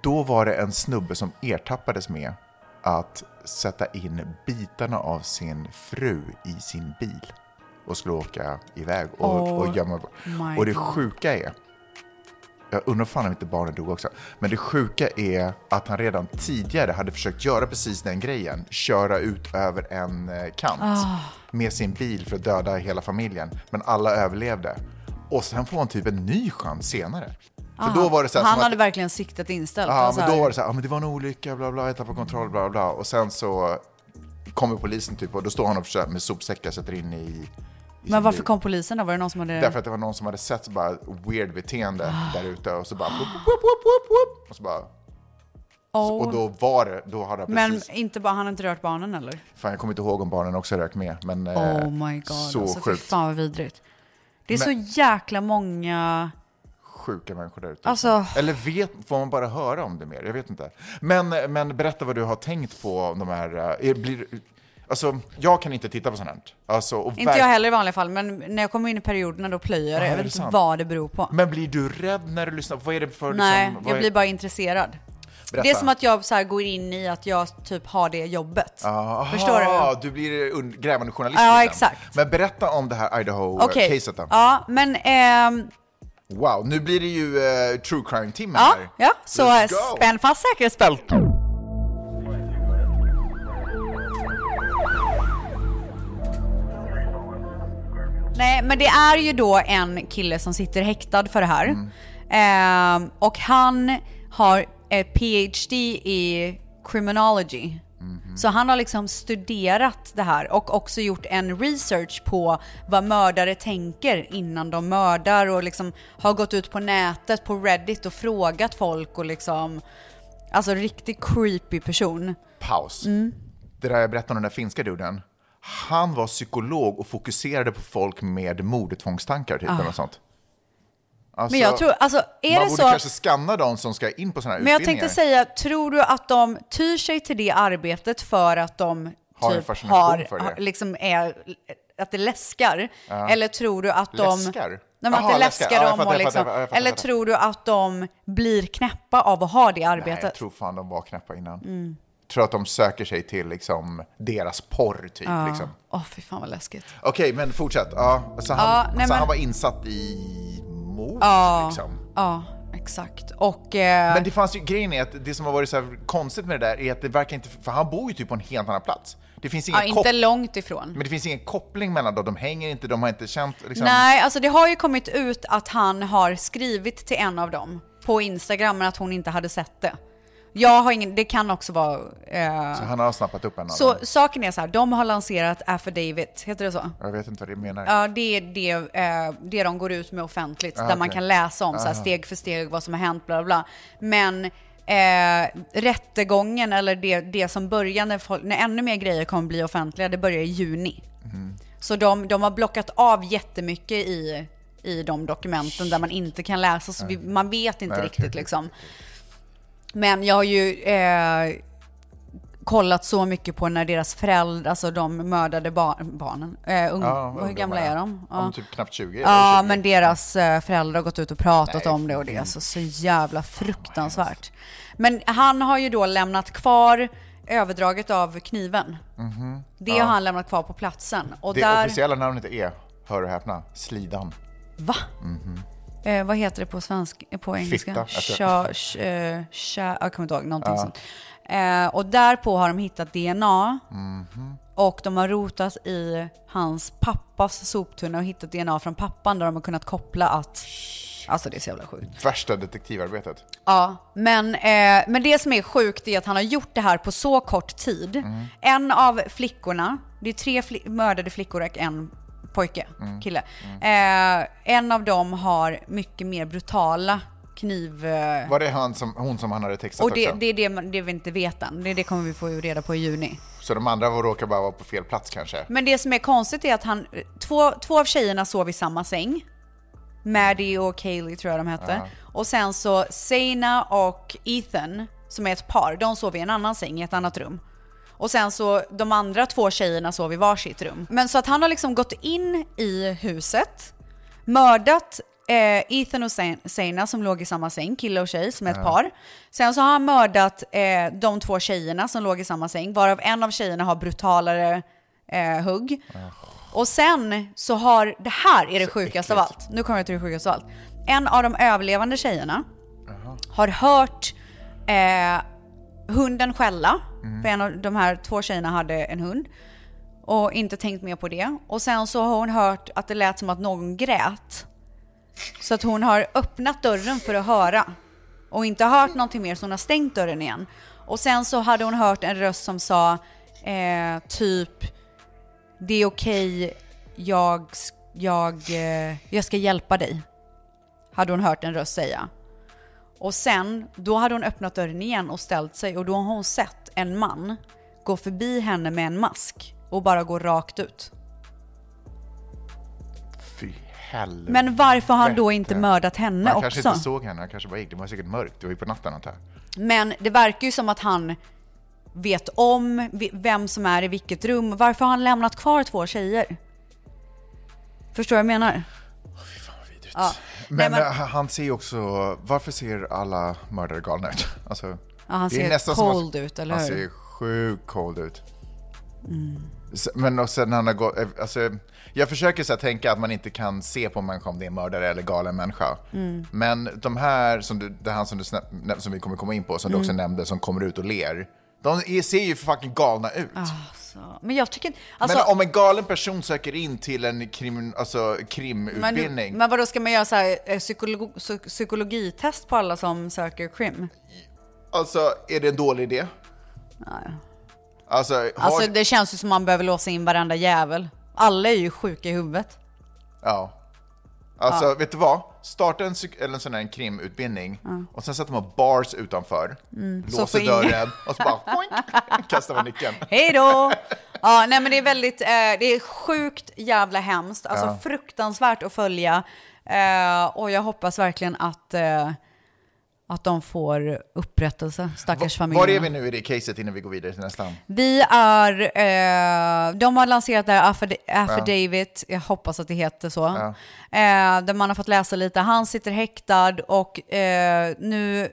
[SPEAKER 1] Då var det en snubbe som ertappades med att sätta in bitarna av sin fru i sin bil och skulle åka iväg och,
[SPEAKER 3] Oh
[SPEAKER 1] och gömma.
[SPEAKER 3] my
[SPEAKER 1] Och det
[SPEAKER 3] God.
[SPEAKER 1] sjuka är, jag undrar fan om inte barnen dog också, men det sjuka är att han redan tidigare hade försökt göra precis den grejen, köra ut över en eh, kant
[SPEAKER 3] Ah.
[SPEAKER 1] med sin bil för att döda hela familjen, men alla överlevde. Och sen får han typ en ny chans senare.
[SPEAKER 2] Aha.
[SPEAKER 1] För då var det så här
[SPEAKER 2] Ah. han
[SPEAKER 1] som
[SPEAKER 2] hade
[SPEAKER 1] att,
[SPEAKER 2] verkligen siktet inställt.
[SPEAKER 1] ja,
[SPEAKER 2] Han
[SPEAKER 1] men
[SPEAKER 2] så här-
[SPEAKER 1] då var det så här, ja, men det var en olycka, bla bla, jag tappade kontroll, bla bla. Och sen så kommer polisen typ och då står han och försöker med sopsäckar, sätter in i... i
[SPEAKER 2] Men varför
[SPEAKER 1] bil.
[SPEAKER 2] kom polisen då? Var det någon som hade...
[SPEAKER 1] Därför att det var någon som hade sett så bara weird beteende
[SPEAKER 2] Ah.
[SPEAKER 1] där ute och så bara... Whoop, whoop, whoop, whoop, whoop, och så bara...
[SPEAKER 2] oh.
[SPEAKER 1] Och då var det, då hade han
[SPEAKER 2] Men
[SPEAKER 1] precis...
[SPEAKER 2] inte bara, han har inte rört barnen eller?
[SPEAKER 1] Fan, jag kommer inte ihåg om barnen också rökt med, men... eh,
[SPEAKER 2] Oh my god,
[SPEAKER 1] Så
[SPEAKER 2] alltså, fy
[SPEAKER 1] sjukt.
[SPEAKER 2] fan vad vidrigt. Det är
[SPEAKER 1] Men-
[SPEAKER 2] så jäkla många...
[SPEAKER 1] sjuka människor där ute.
[SPEAKER 2] Alltså-
[SPEAKER 1] Eller vet, får man bara höra om det mer? Jag vet inte. Men, men berätta vad du har tänkt på om de här... eh, är- Blir, alltså, jag kan inte titta på sånt här. Alltså, och
[SPEAKER 2] Inte jag
[SPEAKER 1] verk-
[SPEAKER 2] heller i vanliga fall, men när jag kommer in i perioderna då
[SPEAKER 1] Ja,
[SPEAKER 2] plöjer jag.
[SPEAKER 1] är
[SPEAKER 2] Jag
[SPEAKER 1] det
[SPEAKER 2] vet inte
[SPEAKER 1] sant?
[SPEAKER 2] vad det beror på.
[SPEAKER 1] Men blir du rädd när du lyssnar? Vad är det för...
[SPEAKER 2] Nej,
[SPEAKER 1] liksom, vad
[SPEAKER 2] jag
[SPEAKER 1] är-
[SPEAKER 2] blir bara intresserad.
[SPEAKER 1] Berätta.
[SPEAKER 2] Det är som att jag så här går in i att jag typ har det jobbet.
[SPEAKER 1] Aha,
[SPEAKER 2] Förstår du?
[SPEAKER 1] Du blir und- grävande journalist.
[SPEAKER 2] Ja,
[SPEAKER 1] lite.
[SPEAKER 2] exakt.
[SPEAKER 1] Men berätta om det här
[SPEAKER 2] Okej.
[SPEAKER 1] Idaho-caset då.
[SPEAKER 2] Ja, men... ehm,
[SPEAKER 1] Wow, nu blir det ju eh, true crime-timmen
[SPEAKER 2] ja,
[SPEAKER 1] här.
[SPEAKER 2] ja, så
[SPEAKER 1] Let's
[SPEAKER 2] eh,
[SPEAKER 1] go.
[SPEAKER 2] spänn fast säkerhetsbältet. Nej, men det är ju då en kille som sitter häktad för det här.
[SPEAKER 1] Mm.
[SPEAKER 2] Ehm, och han har eh, PhD i criminology.
[SPEAKER 1] Mm-hmm.
[SPEAKER 2] Så han har liksom studerat det här och också gjort en research på vad mördare tänker innan de mördar och liksom har gått ut på nätet på Reddit och frågat folk och liksom, alltså riktigt creepy person.
[SPEAKER 1] Paus. Det där jag berättade om den där finska duden. Han var psykolog och fokuserade på folk med mordtvångstankar, typ,
[SPEAKER 2] Ah.
[SPEAKER 1] eller något sånt. Alltså,
[SPEAKER 2] Men jag tror, alltså är
[SPEAKER 1] man
[SPEAKER 2] det
[SPEAKER 1] borde
[SPEAKER 2] så...
[SPEAKER 1] kanske skanna de som ska in på sådana här
[SPEAKER 2] Men jag
[SPEAKER 1] utbildningar.
[SPEAKER 2] tänkte säga, tror du att de tyr sig till det arbetet för att de
[SPEAKER 1] Har en
[SPEAKER 2] typ
[SPEAKER 1] fascination
[SPEAKER 2] har,
[SPEAKER 1] för det.
[SPEAKER 2] har- liksom är, att det läskar?
[SPEAKER 1] Ja.
[SPEAKER 2] Eller tror du att de...
[SPEAKER 1] Läskar?
[SPEAKER 2] Nej, men att
[SPEAKER 1] Jaha,
[SPEAKER 2] det
[SPEAKER 1] läskar.
[SPEAKER 2] läskar
[SPEAKER 1] Ja, jag
[SPEAKER 2] dem
[SPEAKER 1] fattar,
[SPEAKER 2] och
[SPEAKER 1] jag fattar,
[SPEAKER 2] liksom,
[SPEAKER 1] jag fattar, jag
[SPEAKER 2] Eller
[SPEAKER 1] fattar.
[SPEAKER 2] tror du att de blir knäppa av att ha det
[SPEAKER 1] Nej,
[SPEAKER 2] arbetet?
[SPEAKER 1] jag tror fan de var knäppa innan.
[SPEAKER 2] Mm.
[SPEAKER 1] Tror att de söker sig till liksom, deras porr, typ.
[SPEAKER 2] Ja.
[SPEAKER 1] Liksom.
[SPEAKER 2] Åh, fy fan vad läskigt.
[SPEAKER 1] Okej, men fortsätt. Ja, så han,
[SPEAKER 2] Ja, Ah, nej,
[SPEAKER 1] så han
[SPEAKER 2] men- Ah.
[SPEAKER 1] var insatt i mord,
[SPEAKER 2] Ja,
[SPEAKER 1] liksom.
[SPEAKER 2] ja exakt. Och... eh,
[SPEAKER 1] Men det fanns ju, grejen är att det som har varit så här konstigt med det där är att det verkar inte, för han bor ju typ på en helt annan plats. Det finns ingen
[SPEAKER 2] ja, Ah, inte
[SPEAKER 1] koppling.
[SPEAKER 2] långt ifrån.
[SPEAKER 1] Men det finns ingen koppling mellan dem, de hänger inte, de har inte känt liksom...
[SPEAKER 2] Nej, alltså det har ju kommit ut att han har skrivit till en av dem på Instagram men att hon inte hade sett det. Jag har ingen, det kan också vara... Eh,
[SPEAKER 1] Så
[SPEAKER 2] så
[SPEAKER 1] han har snappat upp en av dem.
[SPEAKER 2] saken är så här, de har lanserat affidavit, heter det så?
[SPEAKER 1] Jag vet inte vad det menar.
[SPEAKER 2] Ja, det är det, eh, det de går ut med offentligt,
[SPEAKER 1] Ah,
[SPEAKER 2] där man
[SPEAKER 1] okej.
[SPEAKER 2] kan läsa om så här,
[SPEAKER 1] Aha.
[SPEAKER 2] steg för steg vad som har hänt, bla bla bla. Men eh, rättegången eller det, det som börjar när, folk, när ännu mer grejer kommer bli offentliga, det börjar i juni.
[SPEAKER 3] Mm.
[SPEAKER 2] Så de, de har blockat av jättemycket i, i de dokumenten där man inte kan läsa, så vi, man vet inte
[SPEAKER 3] Nej, okej,
[SPEAKER 2] riktigt
[SPEAKER 3] okej,
[SPEAKER 2] liksom. Men jag har ju eh, kollat så mycket på när deras föräldrar, alltså de mördade bar- barnen, eh, ung, hur
[SPEAKER 1] ungdomar,
[SPEAKER 2] gamla
[SPEAKER 1] ja.
[SPEAKER 2] är de?
[SPEAKER 1] Ja, men typ knappt 20.
[SPEAKER 2] Ja,
[SPEAKER 1] eller 20.
[SPEAKER 2] men deras eh, föräldrar har gått ut och pratat
[SPEAKER 1] Nej,
[SPEAKER 2] om det och det är så, så jävla fruktansvärt. Men han har ju då lämnat kvar överdraget av kniven.
[SPEAKER 1] Mhm.
[SPEAKER 2] Det
[SPEAKER 1] Ja.
[SPEAKER 2] har han lämnat kvar på platsen. Och
[SPEAKER 1] det
[SPEAKER 2] där,
[SPEAKER 1] officiella namnet är, hör och häpna, Slidan.
[SPEAKER 2] Va?
[SPEAKER 1] Mhm.
[SPEAKER 2] eh, vad heter det på, svensk, eh, på engelska?
[SPEAKER 1] Fitta, alltså.
[SPEAKER 2] Kö- kö- eh, kö- jag kommer inte ihåg, någonting
[SPEAKER 1] Ja.
[SPEAKER 2] sånt. Eh, och därpå har de hittat DNA
[SPEAKER 1] Mhm.
[SPEAKER 2] och de har rotat i hans pappas soptunna och hittat DNA från pappan där de har kunnat koppla att... Alltså det är så jävla sjukt.
[SPEAKER 1] Värsta detektivarbetet.
[SPEAKER 2] Ja, men, eh, men det som är sjukt är att han har gjort det här på så kort tid.
[SPEAKER 1] Mm.
[SPEAKER 2] En av flickorna, det är tre fli- mördade flickor och en pojke,
[SPEAKER 3] Mm.
[SPEAKER 2] kille.
[SPEAKER 1] Mm.
[SPEAKER 2] Eh, en av dem har mycket mer brutala kniv... eh,
[SPEAKER 1] Var det han som, hon som han hade textat
[SPEAKER 2] och det,
[SPEAKER 1] också?
[SPEAKER 2] det är det, man- det vi inte vet än. Det, det kommer vi få reda på i juni.
[SPEAKER 1] Så de andra var- råkar bara vara på fel plats kanske?
[SPEAKER 2] Men det som är konstigt är att han, två, två av tjejerna sov i samma säng. Maddie och Kaylee tror jag de hette.
[SPEAKER 1] Ja.
[SPEAKER 2] Och sen så Sena och Ethan, som är ett par, de sov i en annan säng i ett annat rum. Och sen så de andra två tjejerna sov i varsitt rum. Men så att han har liksom gått in i huset, mördat eh, Ethan och Sein- Seina som låg i samma säng, kille och tjej som är ett
[SPEAKER 9] Ja.
[SPEAKER 2] par. Sen så har han mördat eh, de två tjejerna som låg i samma säng, varav en av tjejerna har brutalare eh, hugg. Och sen så har, det här är det sjukaste av allt, nu kommer jag till det sjukaste av allt. En av de överlevande tjejerna har hört eh, hunden skälla,
[SPEAKER 9] Mm.
[SPEAKER 2] för en av de här två tjejerna hade en hund. Och inte tänkt mer på det. Och sen så har hon hört att det lät som att någon grät. Så att hon har öppnat dörren för att höra. Och inte hört någonting mer så hon har stängt dörren igen. Och sen så hade hon hört en röst som sa eh, typ det är okej, jag, s- jag, eh, jag ska hjälpa dig. Hade hon hört en röst säga. Och sen, då hade hon öppnat dörren igen och ställt sig och då har hon sett en man gå förbi henne med en mask och bara gå rakt ut.
[SPEAKER 1] Mm. Fy helvete.
[SPEAKER 2] Men varför har han då inte mördat henne
[SPEAKER 1] han
[SPEAKER 2] också?
[SPEAKER 1] kanske inte såg henne, han kanske bara gick. Det var säkert mörkt, det var ju på natten antar jag.
[SPEAKER 2] Men det verkar ju som att han vet om vi- vem som är i vilket rum. Varför har han lämnat kvar två tjejer? Förstår vad jag menar? Ja.
[SPEAKER 1] Men,
[SPEAKER 2] Nej,
[SPEAKER 1] eh, han ser ju också, varför ser alla mördare galna ut? Alltså,
[SPEAKER 2] Ja, han
[SPEAKER 1] det är
[SPEAKER 2] ser
[SPEAKER 1] nästan som att-
[SPEAKER 2] cold ut, eller
[SPEAKER 1] Han
[SPEAKER 2] hur?
[SPEAKER 1] ser sjukt cold ut.
[SPEAKER 2] Mm.
[SPEAKER 1] S- Men och sen när han har gått, eh, alltså, jag försöker så här, tänka att man inte kan se på en människa om det är en mördare eller galen människa.
[SPEAKER 9] Mm.
[SPEAKER 1] Men de här, som du, det här som, du, snä- nä- som vi kommer komma in på, som du också
[SPEAKER 2] Mm.
[SPEAKER 1] nämnde, som kommer ut och ler. De är- ser ju fucking galna ut.
[SPEAKER 2] Alltså, men jag tycker alltså,
[SPEAKER 1] men om en galen person söker in till en krim, alltså, krimutbildning,
[SPEAKER 2] Men, men vadå, ska man göra så här, eh, psykolog, psy- psykologitest på alla som söker krim?
[SPEAKER 1] alltså är det en dålig idé?
[SPEAKER 2] Nej.
[SPEAKER 1] Alltså, har...
[SPEAKER 2] Alltså det känns ju som man behöver låsa in varenda jävel. Alla är ju sjuka i huvudet.
[SPEAKER 1] Ja. Alltså,
[SPEAKER 2] Ja.
[SPEAKER 1] vet du vad? Starta en, psyk- eller en sån här krimutbildning
[SPEAKER 2] Ja.
[SPEAKER 1] och sen sätter man bars utanför,
[SPEAKER 2] Mm, så får
[SPEAKER 1] låser
[SPEAKER 2] ingen-
[SPEAKER 1] dörren och så bara poink, kastar man nyckeln.
[SPEAKER 2] Hej då! Ja, nej men det är väldigt, eh, det är sjukt jävla hemskt. Alltså
[SPEAKER 1] Ja.
[SPEAKER 2] fruktansvärt att följa. Eh, och jag hoppas verkligen att, eh, att de får upprättelse, stackars familjerna.
[SPEAKER 1] Var är vi nu i det caset innan vi går vidare till nästa?
[SPEAKER 2] Vi är, eh, de har lanserat det här affid- affidavit, jag hoppas att det heter så,
[SPEAKER 1] Ja.
[SPEAKER 2] eh, där man har fått läsa lite. Han sitter häktad och eh, nu,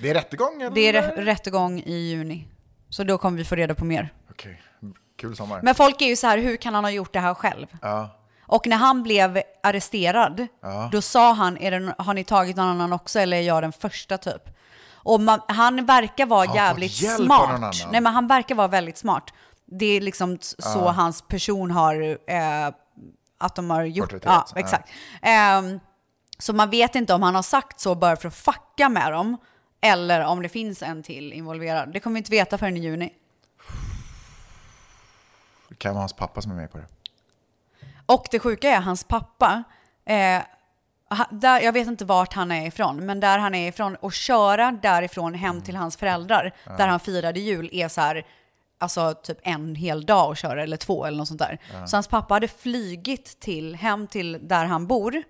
[SPEAKER 1] Det är rättegång eller?
[SPEAKER 2] det är re- rättegång i juni. Så då kommer vi få reda på mer.
[SPEAKER 1] Okej, kul sommar.
[SPEAKER 2] Men folk är ju så här, hur kan han ha gjort det här själv?
[SPEAKER 1] Ja.
[SPEAKER 2] Och när han blev arresterad,
[SPEAKER 1] Ja.
[SPEAKER 2] då sa han, är det, har ni tagit någon annan också eller är jag den första typ? Och man, han verkar vara
[SPEAKER 9] Har han
[SPEAKER 2] jävligt
[SPEAKER 9] fått hjälp av någon
[SPEAKER 2] smart.
[SPEAKER 9] annan?
[SPEAKER 2] Nej men han verkar vara väldigt smart. Det är liksom t- så
[SPEAKER 9] Ja.
[SPEAKER 2] hans person har, eh, att de har gjort. Ja,
[SPEAKER 9] Porträtterats, ja.
[SPEAKER 2] exakt. Ehm, så man vet inte om han har sagt så bara för att fucka med dem, eller om det finns en till involverad. Det kommer vi inte veta förrän i juni.
[SPEAKER 1] Det kan vara hans pappa som är med på det.
[SPEAKER 2] Och det sjuka är hans pappa, eh, ha- där, jag vet inte vart han är ifrån, men där han är ifrån och köra därifrån hem till hans föräldrar,
[SPEAKER 9] Mm. Ja.
[SPEAKER 2] där han firade jul, är så här, alltså typ en hel dag att köra, eller två eller något sånt där.
[SPEAKER 9] Ja.
[SPEAKER 2] Så hans pappa hade flygit till, hem till där han bor,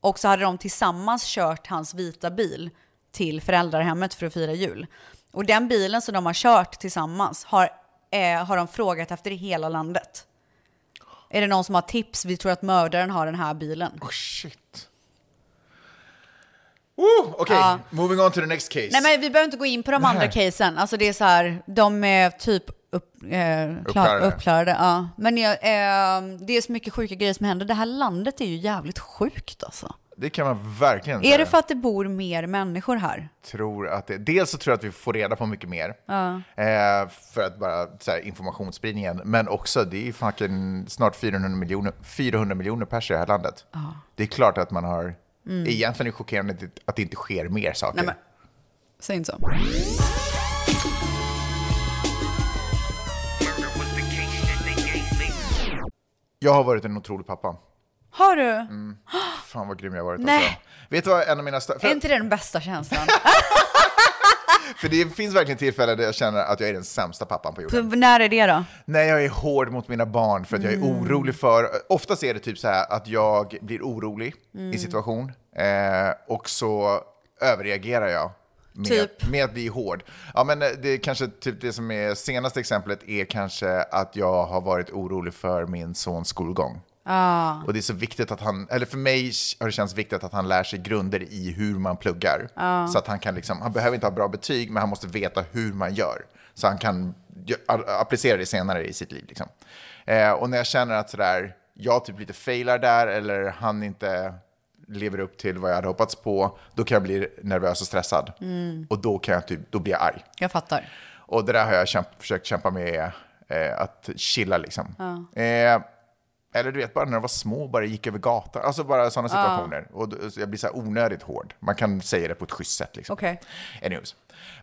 [SPEAKER 2] och så hade de tillsammans kört hans vita bil till föräldrahemmet för att fira jul. Och den bilen som de har kört tillsammans har, eh, har de frågat efter i hela landet. Är det någon som har tips? Vi tror att mördaren har den här bilen.
[SPEAKER 1] Oh shit. Oh, Okej,
[SPEAKER 2] Ja.
[SPEAKER 1] moving on to the next case.
[SPEAKER 2] Nej men vi behöver inte gå in på de
[SPEAKER 1] Nej.
[SPEAKER 2] andra casen. Alltså det är så här, de är typ upp, eh, klar,
[SPEAKER 1] Uppklarade.
[SPEAKER 2] uppklarade. Ja. Men jag, eh, det är så mycket sjuka grejer som händer. Det här landet är ju jävligt sjukt alltså.
[SPEAKER 1] Det kan man verkligen
[SPEAKER 2] Är
[SPEAKER 1] säga.
[SPEAKER 2] det för att det bor mer människor här?
[SPEAKER 1] tror att det, dels så tror jag att vi får reda på mycket mer.
[SPEAKER 2] Ja.
[SPEAKER 1] Eh, för att bara så här, informationsspridningen. Men också, det är ju fucking snart 400 miljoner, 400 miljoner pers i det här landet.
[SPEAKER 2] Ja.
[SPEAKER 1] Det är klart att man har...
[SPEAKER 2] Mm.
[SPEAKER 1] Egentligen är det chockerande att det- att det inte sker mer saker.
[SPEAKER 2] Nej, men- Säg inte så.
[SPEAKER 1] Jag har varit en otrolig pappa.
[SPEAKER 2] Har du?
[SPEAKER 1] Fan vad grym jag har varit.
[SPEAKER 2] Nej.
[SPEAKER 1] Alltså. Vet du vad en av mina... stö-
[SPEAKER 2] Är
[SPEAKER 1] För,
[SPEAKER 2] inte det den bästa känslan?
[SPEAKER 1] för det finns verkligen tillfällen där jag känner att jag är den sämsta pappan på jorden.
[SPEAKER 2] Så när är det då?
[SPEAKER 1] Nej, jag är hård mot mina barn för att jag är
[SPEAKER 2] Mm.
[SPEAKER 1] orolig för... Oftast är det typ så här att jag blir orolig
[SPEAKER 2] Mm.
[SPEAKER 1] i situation eh, och så överreagerar jag. Med,
[SPEAKER 2] Typ.
[SPEAKER 1] med att bli hård. Ja, men eh, det är kanske typ det som är senaste exemplet är kanske att jag har varit orolig för min sons skolgång.
[SPEAKER 2] Ah.
[SPEAKER 1] Och det är så viktigt att han, eller för mig har det känts viktigt att han lär sig grunder i hur man pluggar.
[SPEAKER 2] Ja.
[SPEAKER 1] Så att han kan liksom, han behöver inte ha bra betyg, men han måste veta hur man gör. Så han kan gö- a- applicera det senare i sitt liv. Liksom. Eh, och när jag känner att sådär, jag typ lite failar där, eller han inte lever upp till vad jag hade hoppats på, då kan jag bli nervös och stressad.
[SPEAKER 2] Mm.
[SPEAKER 1] Och då, kan jag typ, då blir jag arg.
[SPEAKER 2] Jag fattar.
[SPEAKER 1] Och det där har jag kämp- försökt kämpa med, eh, att chilla liksom.
[SPEAKER 2] Ja.
[SPEAKER 1] Eh, eller du vet, bara när de var små bara gick över gatan. Alltså bara sådana
[SPEAKER 2] Ja.
[SPEAKER 1] situationer. Och då- så jag blir så här onödigt hård. Man kan säga det på ett schysst sätt. Liksom.
[SPEAKER 2] Okej.
[SPEAKER 1] Anyways.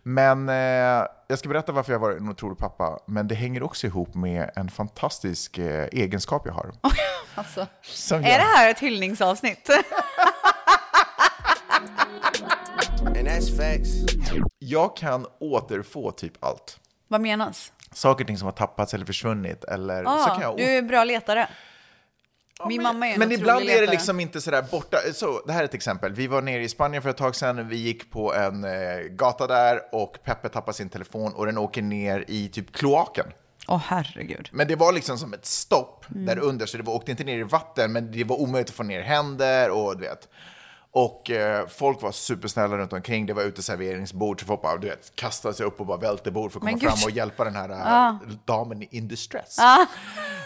[SPEAKER 1] Men eh, jag ska berätta varför jag var en otrolig pappa. Men det hänger också ihop med en fantastisk eh, egenskap jag har.
[SPEAKER 2] Alltså.
[SPEAKER 1] Som
[SPEAKER 2] Är
[SPEAKER 1] jag-
[SPEAKER 2] det här ett hyllningsavsnitt?
[SPEAKER 1] Jag kan återfå typ allt.
[SPEAKER 2] Vad menas?
[SPEAKER 1] Saker och ting som har tappats eller försvunnit. Eller, så kan
[SPEAKER 2] Ah,
[SPEAKER 1] jag
[SPEAKER 2] du är en bra letare. Min mamma är en
[SPEAKER 1] Men
[SPEAKER 2] otrolig
[SPEAKER 1] ibland är det
[SPEAKER 2] letare.
[SPEAKER 1] liksom inte sådär borta. Så, det här är ett exempel. Vi var nere i Spanien för ett tag sedan. Vi gick på en eh, gata där och Peppe tappar sin telefon och den åker ner i typ kloaken.
[SPEAKER 2] Åh herregud.
[SPEAKER 1] Men det var liksom som ett stopp
[SPEAKER 2] Mm.
[SPEAKER 1] där under, så det var, åkte inte ner i vatten, men det var omöjligt att få ner händer och du vet. Och eh, folk var supersnälla runt omkring. Det var uteserveringsbord, så folk bara, du vet, kastade sig upp och bara välte bord för att komma
[SPEAKER 2] Men
[SPEAKER 1] fram
[SPEAKER 2] gud.
[SPEAKER 1] och hjälpa den här eh,
[SPEAKER 2] Ah.
[SPEAKER 1] damen in distress.
[SPEAKER 2] Ah.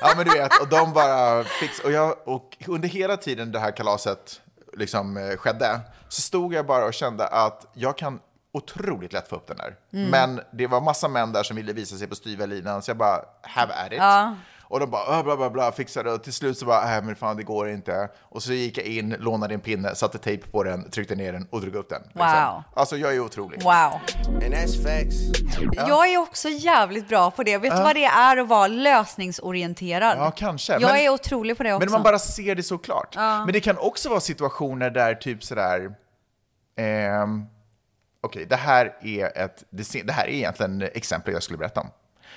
[SPEAKER 1] Ja men du vet, och de bara fix och, jag, och under hela tiden det här kalaset liksom eh, skedde så stod jag bara och kände att jag kan otroligt lätt få upp den där.
[SPEAKER 2] Mm.
[SPEAKER 1] Men det var massa män där som ville visa sig på styva linan så jag bara, have at it.
[SPEAKER 2] Ja.
[SPEAKER 1] Och de bara, "Ah, bla bla bla, fixade och till slut så bara, nej men fan det går inte. Och så gick jag in, lånade en pinne, satte tejp på den, tryckte ner den och drog upp den.
[SPEAKER 2] Wow.
[SPEAKER 1] Alltså jag är otrolig.
[SPEAKER 2] Wow.
[SPEAKER 1] And that's facts.
[SPEAKER 2] Jag är också jävligt bra på det. Vet du
[SPEAKER 1] Ja.
[SPEAKER 2] vad det är att vara lösningsorienterad?
[SPEAKER 1] Ja, kanske.
[SPEAKER 2] Jag
[SPEAKER 1] Men-
[SPEAKER 2] är otrolig på det också.
[SPEAKER 1] Men man bara ser det såklart.
[SPEAKER 2] Ja.
[SPEAKER 1] Men det kan också vara situationer där typ sådär... Ehm, Okej, det här är ett... Det, se- det här är egentligen exempel jag skulle berätta om.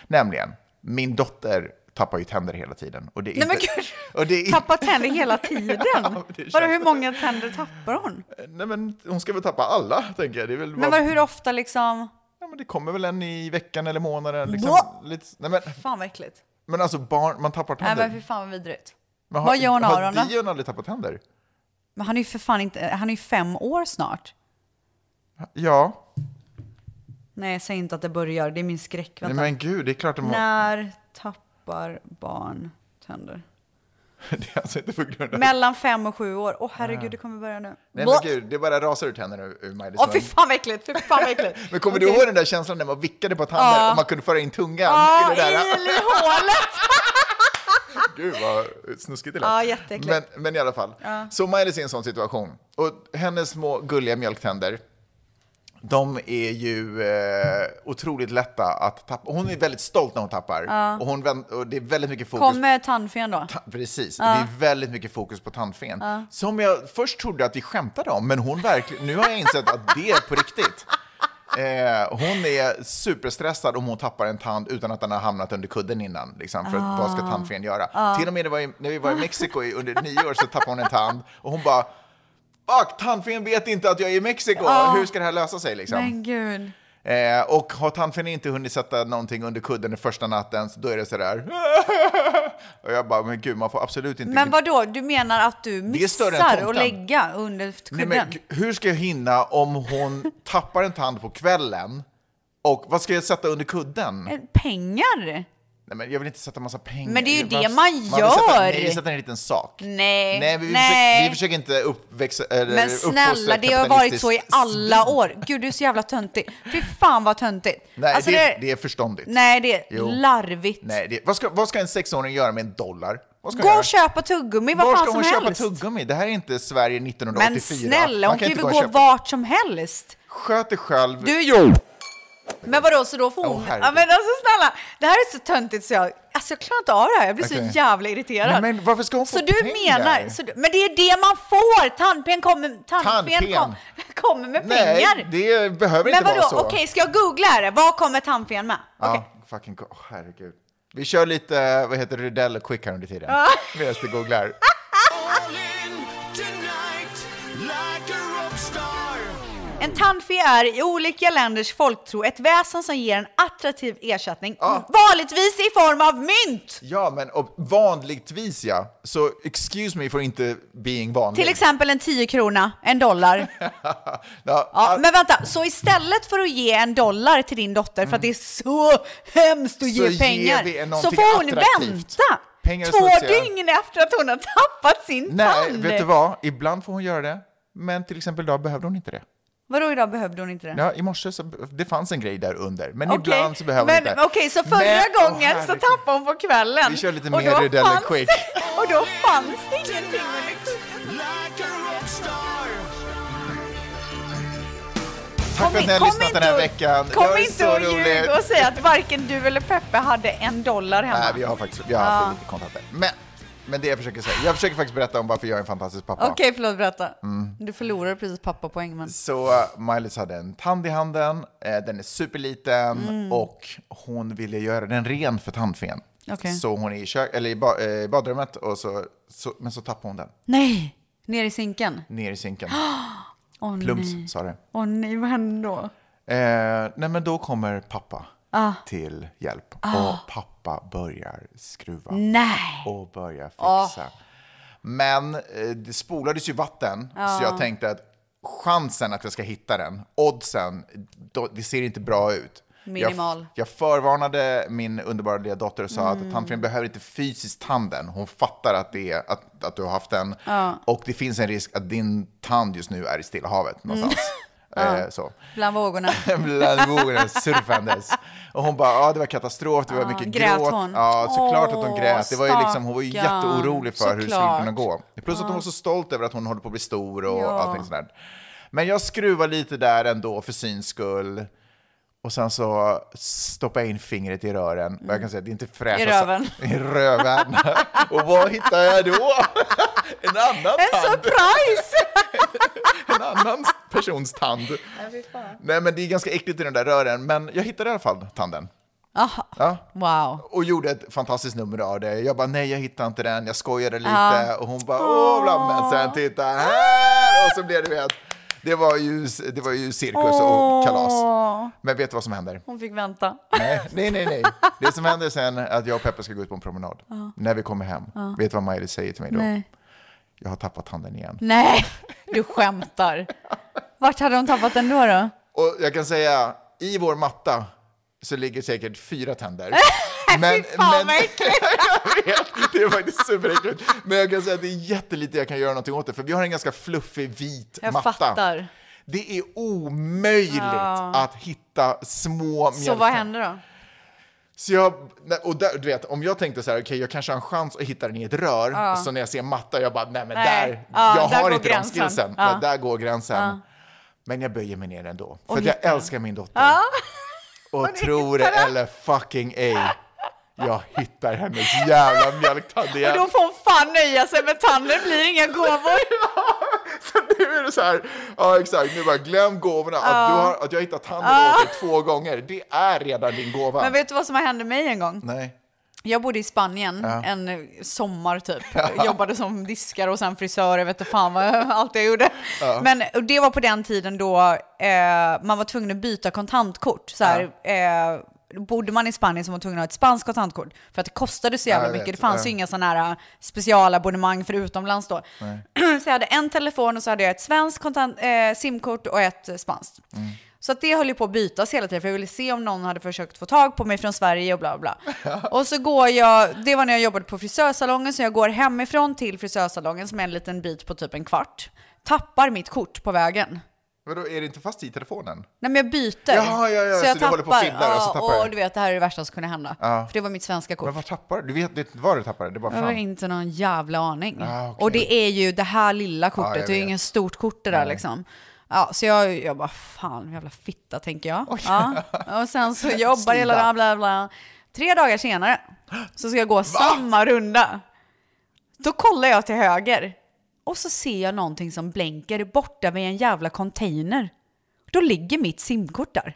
[SPEAKER 1] Nämligen, min dotter tappar ju tänder hela tiden. Och det är
[SPEAKER 2] Nej men
[SPEAKER 1] inte,
[SPEAKER 2] gud,
[SPEAKER 1] och det är,
[SPEAKER 2] tappar tänder hela tiden?
[SPEAKER 1] känns-
[SPEAKER 2] Vadå, hur många tänder tappar hon?
[SPEAKER 1] Nej men hon ska väl tappa alla, tänker jag. Det är väl
[SPEAKER 2] Men
[SPEAKER 1] bara-
[SPEAKER 2] vad, hur ofta liksom?
[SPEAKER 1] Ja, men det kommer väl en i veckan eller månaden. Liksom,
[SPEAKER 2] Blå!
[SPEAKER 1] lite, nej, men,
[SPEAKER 2] Fan vad äckligt.
[SPEAKER 1] men alltså barn, man tappar
[SPEAKER 2] Nej
[SPEAKER 1] tänder.
[SPEAKER 2] men fy fan vad vidrigt.
[SPEAKER 1] Men
[SPEAKER 2] vad gör hon
[SPEAKER 1] har,
[SPEAKER 2] av dem
[SPEAKER 1] Har
[SPEAKER 2] då?
[SPEAKER 1] Dion aldrig tappat tänder?
[SPEAKER 2] Men han är ju för fan inte, han är ju fem år snart.
[SPEAKER 1] Ja.
[SPEAKER 2] Nej säg inte att det börjar, det är min skräck.
[SPEAKER 1] Nej,
[SPEAKER 2] Vänta.
[SPEAKER 1] men gud, det är klart de har...
[SPEAKER 2] När tappar barn tänder?
[SPEAKER 1] Det är alltså inte på grund av...
[SPEAKER 2] Mellan fem och sju år. Åh
[SPEAKER 1] Ja.
[SPEAKER 2] herregud, det kommer börja nu.
[SPEAKER 1] Nej
[SPEAKER 2] Blå!
[SPEAKER 1] men gud, det bara rasar ut händerna ur, ur Maj-Lis
[SPEAKER 2] Åh fy
[SPEAKER 1] mun.
[SPEAKER 2] fan vad äckligt, fy fan vad äckligt.
[SPEAKER 1] Men kommer du
[SPEAKER 2] Okej.
[SPEAKER 1] ihåg den där känslan när man vickade på tanden
[SPEAKER 2] Ja.
[SPEAKER 1] och man kunde föra in tungan
[SPEAKER 2] Ja,
[SPEAKER 1] i det där?
[SPEAKER 2] il i hålet!
[SPEAKER 1] Gud vad snuskigt det lät.
[SPEAKER 2] Ja, jätteäckligt.
[SPEAKER 1] men, men i alla fall.
[SPEAKER 2] Ja.
[SPEAKER 1] Så Maj-Lis är i en sån situation. Och hennes små gulliga mjölktänder, de är ju eh, otroligt lätta att tappa. Hon är väldigt stolt när hon tappar.
[SPEAKER 2] Ja.
[SPEAKER 1] Och, hon, vänd- och det är väldigt mycket fokus
[SPEAKER 2] Kommer tandfen då?
[SPEAKER 1] Precis,
[SPEAKER 2] Ja.
[SPEAKER 1] det är väldigt mycket fokus på tandfen.
[SPEAKER 2] Ja.
[SPEAKER 1] Som jag först trodde att vi skämtade om, men hon verkligen, nu har jag insett att det är på riktigt. Eh, hon är superstressad om hon tappar en tand utan att den har hamnat under kudden innan. Liksom, för
[SPEAKER 9] Ah.
[SPEAKER 1] vad ska tandfen göra?
[SPEAKER 9] Ah.
[SPEAKER 1] Till och med det var i, när vi var i Mexiko i, under nio år så tappade hon en tand och hon bara Fuck, tandfen vet inte att jag är i Mexiko!
[SPEAKER 2] Ah.
[SPEAKER 1] Hur ska det här lösa sig liksom?
[SPEAKER 2] Men gud.
[SPEAKER 1] Eh, och har tandfen inte hunnit sätta någonting under kudden den första natten, så då är det sådär. Och jag bara, men gud, man får absolut inte...
[SPEAKER 2] Men vad då? du menar att du
[SPEAKER 1] Det är större än
[SPEAKER 2] missar att
[SPEAKER 1] tomten.
[SPEAKER 2] lägga under
[SPEAKER 1] Nej,
[SPEAKER 2] kudden?
[SPEAKER 1] men g- hur ska jag hinna om hon tappar en tand på kvällen? Och vad ska jag sätta under kudden?
[SPEAKER 2] Eh, Pengar?
[SPEAKER 1] Nej, men jag vill inte sätta massa pengar.
[SPEAKER 2] Men det är ju
[SPEAKER 1] Jag-
[SPEAKER 2] det man
[SPEAKER 1] vill Sätta,
[SPEAKER 2] gör.
[SPEAKER 1] nej, sätta en liten sak.
[SPEAKER 2] Nej.
[SPEAKER 1] Nej, vi, Försöker, vi försöker inte uppväxa... eller
[SPEAKER 2] Men
[SPEAKER 1] uppfostra
[SPEAKER 2] snälla, det har varit så i
[SPEAKER 1] kapitalistiskt
[SPEAKER 2] alla år. Gud, du är så jävla töntig. Fy fan vad töntigt.
[SPEAKER 1] Nej,
[SPEAKER 2] Alltså,
[SPEAKER 1] det,
[SPEAKER 2] det-
[SPEAKER 1] är, det är förståndigt.
[SPEAKER 2] Nej, det är
[SPEAKER 1] Jo.
[SPEAKER 2] larvigt.
[SPEAKER 1] Nej, det, vad, ska, vad ska en sexåring göra med en dollar? Vad ska hon
[SPEAKER 2] Gå
[SPEAKER 1] göra?
[SPEAKER 2] och köpa tuggummi
[SPEAKER 1] Var
[SPEAKER 2] vad
[SPEAKER 1] ska
[SPEAKER 2] fan
[SPEAKER 1] hon
[SPEAKER 2] som
[SPEAKER 1] köpa
[SPEAKER 2] helst.
[SPEAKER 1] tuggummi? Det här är inte Sverige
[SPEAKER 2] Men
[SPEAKER 1] 1984.
[SPEAKER 2] snälla,
[SPEAKER 1] Man
[SPEAKER 2] hon kan ju
[SPEAKER 1] inte
[SPEAKER 2] gå
[SPEAKER 1] och köpa-
[SPEAKER 2] vart som helst.
[SPEAKER 1] Sköt dig själv.
[SPEAKER 2] Du, jo! Men vadå, så då får
[SPEAKER 1] Åh,
[SPEAKER 2] hon...
[SPEAKER 1] herregud.
[SPEAKER 2] ja, men alltså snälla, det här är så töntigt så jag... Alltså jag klarar inte av det här, jag blir
[SPEAKER 1] Okej.
[SPEAKER 2] så jävla irriterad.
[SPEAKER 1] Nej, men varför ska hon
[SPEAKER 2] så
[SPEAKER 1] få
[SPEAKER 2] du
[SPEAKER 1] pengar?
[SPEAKER 2] menar, så du, men det är det man får! Tandpen kommer, tandfen
[SPEAKER 1] Tandfen.
[SPEAKER 2] kom, kommer med
[SPEAKER 1] Nej,
[SPEAKER 2] pengar.
[SPEAKER 1] det behöver
[SPEAKER 2] Men
[SPEAKER 1] inte vara
[SPEAKER 2] vadå,
[SPEAKER 1] så.
[SPEAKER 2] okej ska jag googla här? Vad kommer tandfen med?
[SPEAKER 1] Ja, fucking go- åh, herregud. Vi kör lite, vad heter det, Rydell och Quick här under tiden.
[SPEAKER 2] Ja.
[SPEAKER 1] Medan det googlar.
[SPEAKER 3] All in tonight, like a rock star.
[SPEAKER 2] En tandfe är i olika länders folktro ett väsen som ger en attraktiv ersättning, vanligtvis i form av mynt.
[SPEAKER 1] Ja, men och vanligtvis ja. Så excuse me for inte being vanlig.
[SPEAKER 2] Till exempel en 10 krona, en dollar.
[SPEAKER 1] Ja,
[SPEAKER 2] Ja, men vänta, så istället för att ge en dollar till din dotter för att det är så hemskt att
[SPEAKER 1] Så
[SPEAKER 2] ge
[SPEAKER 1] ger
[SPEAKER 2] pengar,
[SPEAKER 1] vi en
[SPEAKER 2] så
[SPEAKER 1] någonting
[SPEAKER 2] får hon
[SPEAKER 1] attraktivt.
[SPEAKER 2] vänta
[SPEAKER 1] Pengar är
[SPEAKER 2] två
[SPEAKER 1] smutsiga.
[SPEAKER 2] dygn efter att hon har tappat sin
[SPEAKER 1] Nej,
[SPEAKER 2] tand.
[SPEAKER 1] vet du vad? Ibland får hon göra det, men till exempel idag behövde hon inte det.
[SPEAKER 2] Vadå idag behövde hon inte det?
[SPEAKER 1] Ja, I morse så det fanns en grej där under, men
[SPEAKER 2] Okej,
[SPEAKER 1] ibland så behöver
[SPEAKER 2] men,
[SPEAKER 1] hon inte.
[SPEAKER 2] Okej, så förra
[SPEAKER 1] Men- åh,
[SPEAKER 2] gången så
[SPEAKER 1] herregud.
[SPEAKER 2] tappade hon på kvällen.
[SPEAKER 1] Vi kör lite
[SPEAKER 2] Och
[SPEAKER 1] mer
[SPEAKER 2] då
[SPEAKER 1] Rydell
[SPEAKER 2] fanns
[SPEAKER 1] Quick.
[SPEAKER 2] det- Och då fanns det ingenting.
[SPEAKER 1] Tack för att ni har lyssnat den här
[SPEAKER 2] och-
[SPEAKER 1] veckan. Det
[SPEAKER 2] Kom
[SPEAKER 1] var
[SPEAKER 2] inte
[SPEAKER 1] så
[SPEAKER 2] och
[SPEAKER 1] roligt.
[SPEAKER 2] ljug och säg att varken du eller Peppe hade en dollar hemma.
[SPEAKER 1] Nej, vi har faktiskt vi har haft lite kontakter. Men, men det jag försöker säga, jag försöker faktiskt berätta om varför jag är en fantastisk pappa.
[SPEAKER 2] Okej, förlåt, berätta.
[SPEAKER 1] Mm.
[SPEAKER 2] Du förlorade precis pappapoäng, men...
[SPEAKER 1] Så Miley hade en tand i handen, eh, den är superliten
[SPEAKER 2] Mm.
[SPEAKER 1] och hon ville göra den ren för tandfen.
[SPEAKER 2] Okej.
[SPEAKER 1] Så hon är i, kök, eller i, ba, eh, i badrummet, och så, så, men så tappade hon den
[SPEAKER 2] Nej! Ner i sinken?
[SPEAKER 1] ner i sinken.
[SPEAKER 2] Åh nej.
[SPEAKER 1] Plums, sa det.
[SPEAKER 2] Åh nej, vad hände då?
[SPEAKER 1] Eh, nej, men då kommer pappa
[SPEAKER 2] Ah.
[SPEAKER 1] till hjälp. Och pappa börjar skruva.
[SPEAKER 2] Nej!
[SPEAKER 1] Och börjar fixa. Men eh, det spolades ju vatten, så jag tänkte att chansen att jag ska hitta den, oddsen, då, det ser inte bra ut.
[SPEAKER 2] Minimal. Mm.
[SPEAKER 1] Jag, jag förvarnade min underbara lilla dotter och sa att tandfen behöver inte fysiskt tanden. Hon fattar att, det är, att, att du har haft den. Och det finns en risk att din tand just nu är i Stilla havet någonstans.
[SPEAKER 2] Mm.
[SPEAKER 1] Eh, så
[SPEAKER 2] Bland vågorna.
[SPEAKER 1] bland vågorna surfandes. Och hon bara, ja det var katastrof, det var mycket
[SPEAKER 2] Ah, grät
[SPEAKER 1] gråt.
[SPEAKER 2] hon?
[SPEAKER 1] Ja, såklart att hon
[SPEAKER 2] Åh,
[SPEAKER 1] grät. Det var ju liksom, hon var ju
[SPEAKER 2] stackarn.
[SPEAKER 1] jätteorolig för hur det skulle
[SPEAKER 2] Såklart.
[SPEAKER 1] kunna gå. Plus att hon var så stolt över att hon håller på att bli stor och
[SPEAKER 2] Ja.
[SPEAKER 1] allting sådär. Men jag skruvar lite där ändå för syns skull. Och sen så stoppar jag in fingret i rören. Och jag kan säga att det är inte fräscha...
[SPEAKER 2] I röven.
[SPEAKER 1] I röven. och vad hittar jag då? en annan
[SPEAKER 2] En
[SPEAKER 1] tand
[SPEAKER 2] surprise!
[SPEAKER 1] en annan persons tand. Nej, men det är ganska äckligt i den där rören, men jag hittade i alla fall tanden.
[SPEAKER 2] Aha.
[SPEAKER 1] Ja.
[SPEAKER 2] Wow.
[SPEAKER 1] Och gjorde ett fantastiskt nummer av det. Jag bara, nej jag hittade inte den, jag skojade lite. Och hon bara, åh, bla, men sen titta här! Och så blev det, vet, det var ju, det var ju cirkus och kalas. Men vet du vad som händer?
[SPEAKER 2] Hon fick vänta.
[SPEAKER 1] Nej, nej, nej, nej. Det som händer sen är att jag och Peppe ska gå ut på en promenad. När vi kommer hem, vet du vad Maj-Lis säger till mig då?
[SPEAKER 2] Nej.
[SPEAKER 1] Jag har tappat tanden igen.
[SPEAKER 2] Nej, du skämtar. Vart hade hon tappat den då? då?
[SPEAKER 1] Och jag kan säga, i vår matta så ligger säkert fyra tänder. men,
[SPEAKER 2] Fy fan vad äckligt.
[SPEAKER 1] jag vet, det är faktiskt superäckligt. Men jag kan säga att det är jättelite jag kan göra någonting åt det, för vi har en ganska fluffig vit
[SPEAKER 2] Jag
[SPEAKER 1] matta.
[SPEAKER 2] fattar.
[SPEAKER 1] Det är omöjligt att hitta små
[SPEAKER 2] Så vad hände då?
[SPEAKER 1] så jag, nej, och där, du vet, om jag tänkte så här, okej, jag kanske har en chans att hitta den i ett rör, så när jag ser matta, jag bara, nej men
[SPEAKER 2] Nej.
[SPEAKER 1] där,
[SPEAKER 2] Ja,
[SPEAKER 1] jag
[SPEAKER 2] där
[SPEAKER 1] har
[SPEAKER 2] går
[SPEAKER 1] inte
[SPEAKER 2] gränsen.
[SPEAKER 1] den skillsen,
[SPEAKER 2] Ja.
[SPEAKER 1] men där går gränsen. Men jag böjer mig ner ändå, för att jag älskar min dotter. Och tror det eller fucking ej, jag hittar hennes jävla mjölktand igen.
[SPEAKER 2] Och då får hon fan nöja sig med tanden, det blir inga gåvor.
[SPEAKER 1] Så nu är det så här, ja exakt, nu bara glöm gåvorna, att, du har, att jag hittat tanden åt dig två gånger, det är redan din gåva.
[SPEAKER 2] Men vet du vad som hände mig en gång?
[SPEAKER 1] nej.
[SPEAKER 2] Jag bodde i Spanien en sommar typ. Jobbade som diskare och sen frisör, jag vet inte fan vad allt jag gjorde. Men och det var på den tiden då eh, man var tvungen att byta kontantkort. Så här, eh, Bodde man i Spanien så var man tvungen att ha ett spanskt kontantkort för att det kostade så jävla
[SPEAKER 1] jag
[SPEAKER 2] mycket.
[SPEAKER 1] vet.
[SPEAKER 2] Det fanns
[SPEAKER 1] Ja.
[SPEAKER 2] ju inga sådana här äh, specialabonnemang för utomlands då. Så jag hade en telefon och så hade jag ett svenskt kontant, eh, simkort och ett eh, spanskt.
[SPEAKER 1] Mm.
[SPEAKER 2] Så att det höll ju på att bytas hela tiden för jag ville se om någon hade försökt få tag på mig från Sverige och bla bla. bla. och så går jag, det var när jag jobbade på frisörsalongen, så jag går hemifrån till frisörsalongen som är en liten bit på typ en kvart. Tappar mitt kort på vägen.
[SPEAKER 1] Vadå, är det inte fast i telefonen?
[SPEAKER 2] Nej men jag byter.
[SPEAKER 1] Jaha, ja, ja, så du håller på och fiddlar och så
[SPEAKER 2] Ja,
[SPEAKER 1] tappar du.
[SPEAKER 2] och du vet det här är det värsta som kunde hända. För det var mitt svenska kort.
[SPEAKER 1] Men vad tappar du? Du vet, vet var du tappar det? Det är bara
[SPEAKER 2] Jag har
[SPEAKER 1] fram.
[SPEAKER 2] inte någon jävla aning.
[SPEAKER 1] Ah, okej.
[SPEAKER 2] Och det är ju det här lilla kortet,
[SPEAKER 1] Ja, jag
[SPEAKER 2] det är ju
[SPEAKER 1] vet.
[SPEAKER 2] inget stort kort det där liksom. Ja, så jag, jag bara, fan jävla fitta tänker jag. Ja. Och sen så jobbar jag hela
[SPEAKER 1] Sida.
[SPEAKER 2] dagen, bla bla. Tre dagar senare så ska jag gå samma runda. Då kollar jag till höger och så ser jag någonting som blänker borta vid en jävla container. Då ligger mitt simkort där.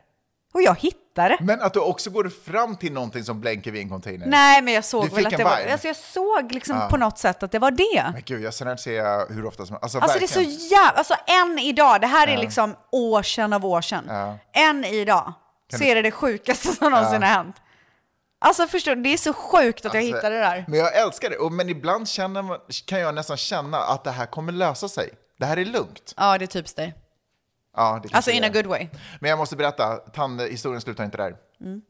[SPEAKER 2] Och jag hittade.
[SPEAKER 1] Men att du också går fram till någonting som blänker vid en container.
[SPEAKER 2] Nej, men jag såg
[SPEAKER 1] Du
[SPEAKER 2] väl
[SPEAKER 1] fick
[SPEAKER 2] att
[SPEAKER 1] en
[SPEAKER 2] det var...
[SPEAKER 1] vibe.
[SPEAKER 2] Alltså jag såg liksom
[SPEAKER 1] Ja.
[SPEAKER 2] på något sätt att det var det.
[SPEAKER 1] Men gud, jag sen ser jag hur ofta som Alltså,
[SPEAKER 2] Alltså det är så
[SPEAKER 1] verkligen.
[SPEAKER 2] jävla... Alltså än idag, det här är
[SPEAKER 1] Ja.
[SPEAKER 2] liksom år sedan av år sedan.
[SPEAKER 1] Ja.
[SPEAKER 2] Än idag
[SPEAKER 1] Kan
[SPEAKER 2] så
[SPEAKER 1] du-
[SPEAKER 2] är det det sjukaste som någonsin
[SPEAKER 1] Ja.
[SPEAKER 2] har hänt. Alltså förstår du, det är så sjukt att jag
[SPEAKER 1] Alltså,
[SPEAKER 2] hittade det där.
[SPEAKER 1] Men jag älskar det. Och, men ibland känner man, kan jag nästan känna att det här kommer lösa sig. Det här är lugnt.
[SPEAKER 2] Ja, det är typiskt dig.
[SPEAKER 1] Ja, det
[SPEAKER 2] Alltså
[SPEAKER 1] kanske
[SPEAKER 2] in
[SPEAKER 1] det
[SPEAKER 2] a
[SPEAKER 1] är.
[SPEAKER 2] good way.
[SPEAKER 1] Men jag måste berätta, tandhistorien slutar inte där.
[SPEAKER 2] Mm.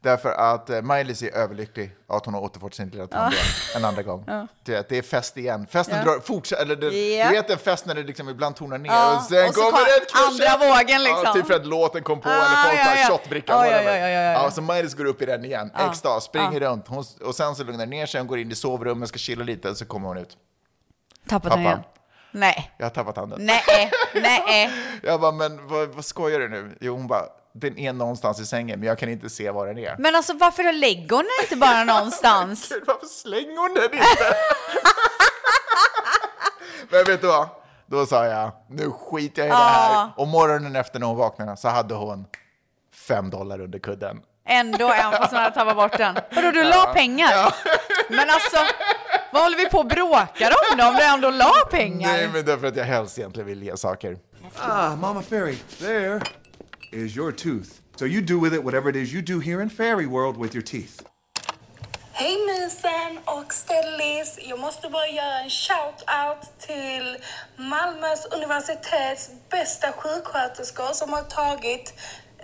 [SPEAKER 1] Därför att eh, Maj-Lis är överlycklig att hon har återfått sin lilla tand igen en andra gång.
[SPEAKER 2] Ja.
[SPEAKER 1] Du vet, det är fest igen. Festen
[SPEAKER 2] Ja.
[SPEAKER 1] drar, fortsätter, eller det,
[SPEAKER 2] Ja.
[SPEAKER 1] du vet en fest när det liksom ibland tonar ner
[SPEAKER 2] Ja,
[SPEAKER 1] och sen
[SPEAKER 2] och så
[SPEAKER 1] kommer
[SPEAKER 2] kom
[SPEAKER 1] det ett
[SPEAKER 2] andra
[SPEAKER 1] crescendo.
[SPEAKER 2] vågen liksom.
[SPEAKER 1] Ja, typ för att låten kom på
[SPEAKER 2] Ah,
[SPEAKER 1] eller folk
[SPEAKER 2] ja,
[SPEAKER 1] tar
[SPEAKER 2] ja.
[SPEAKER 1] shotbrickan.
[SPEAKER 2] Ja, ja,
[SPEAKER 1] whatever.
[SPEAKER 2] ja, ja, ja, ja.
[SPEAKER 1] så Maj-Lis går upp i den igen,
[SPEAKER 2] Ja.
[SPEAKER 1] extas, springer
[SPEAKER 2] Ja.
[SPEAKER 1] runt. Hon, och sen så lugnar det ner sig, hon går in i sovrummet, ska chilla lite, så kommer hon ut.
[SPEAKER 2] Tappat
[SPEAKER 1] Pappa.
[SPEAKER 2] den igen. Nej,
[SPEAKER 1] Jag har tappat handen.
[SPEAKER 2] nej, nej.
[SPEAKER 1] Jag bara, men vad, vad skojar du nu? Jo, hon bara, den är någonstans i sängen, men jag kan inte se var den är.
[SPEAKER 2] Men alltså varför lägger hon den inte bara någonstans?
[SPEAKER 1] Gud, varför slänger hon den inte? Men vet du vad? Då sa jag, nu skiter jag i det här. Och morgonen efter när hon vaknade så hade hon fem dollar under kudden.
[SPEAKER 2] Ändå är han fast hon hade tappat bort den. Vadå, du la pengar? Men alltså, vad håller vi på och bråkar om då om du ändå la pengar?
[SPEAKER 1] Nej, men därför att jag helst egentligen vill ge saker.
[SPEAKER 9] Ah, Mama Fairy, there is your tooth. So you do with it whatever it is you do here in Fairy World with your teeth.
[SPEAKER 10] Hej Mysen och Stellis! Jag måste bara göra en shout-out till Malmös universitets bästa sjuksköterskor som har tagit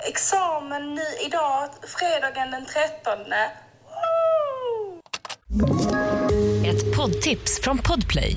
[SPEAKER 10] examen nu idag, fredagen den 13.
[SPEAKER 8] Ett poddtips från Podplay.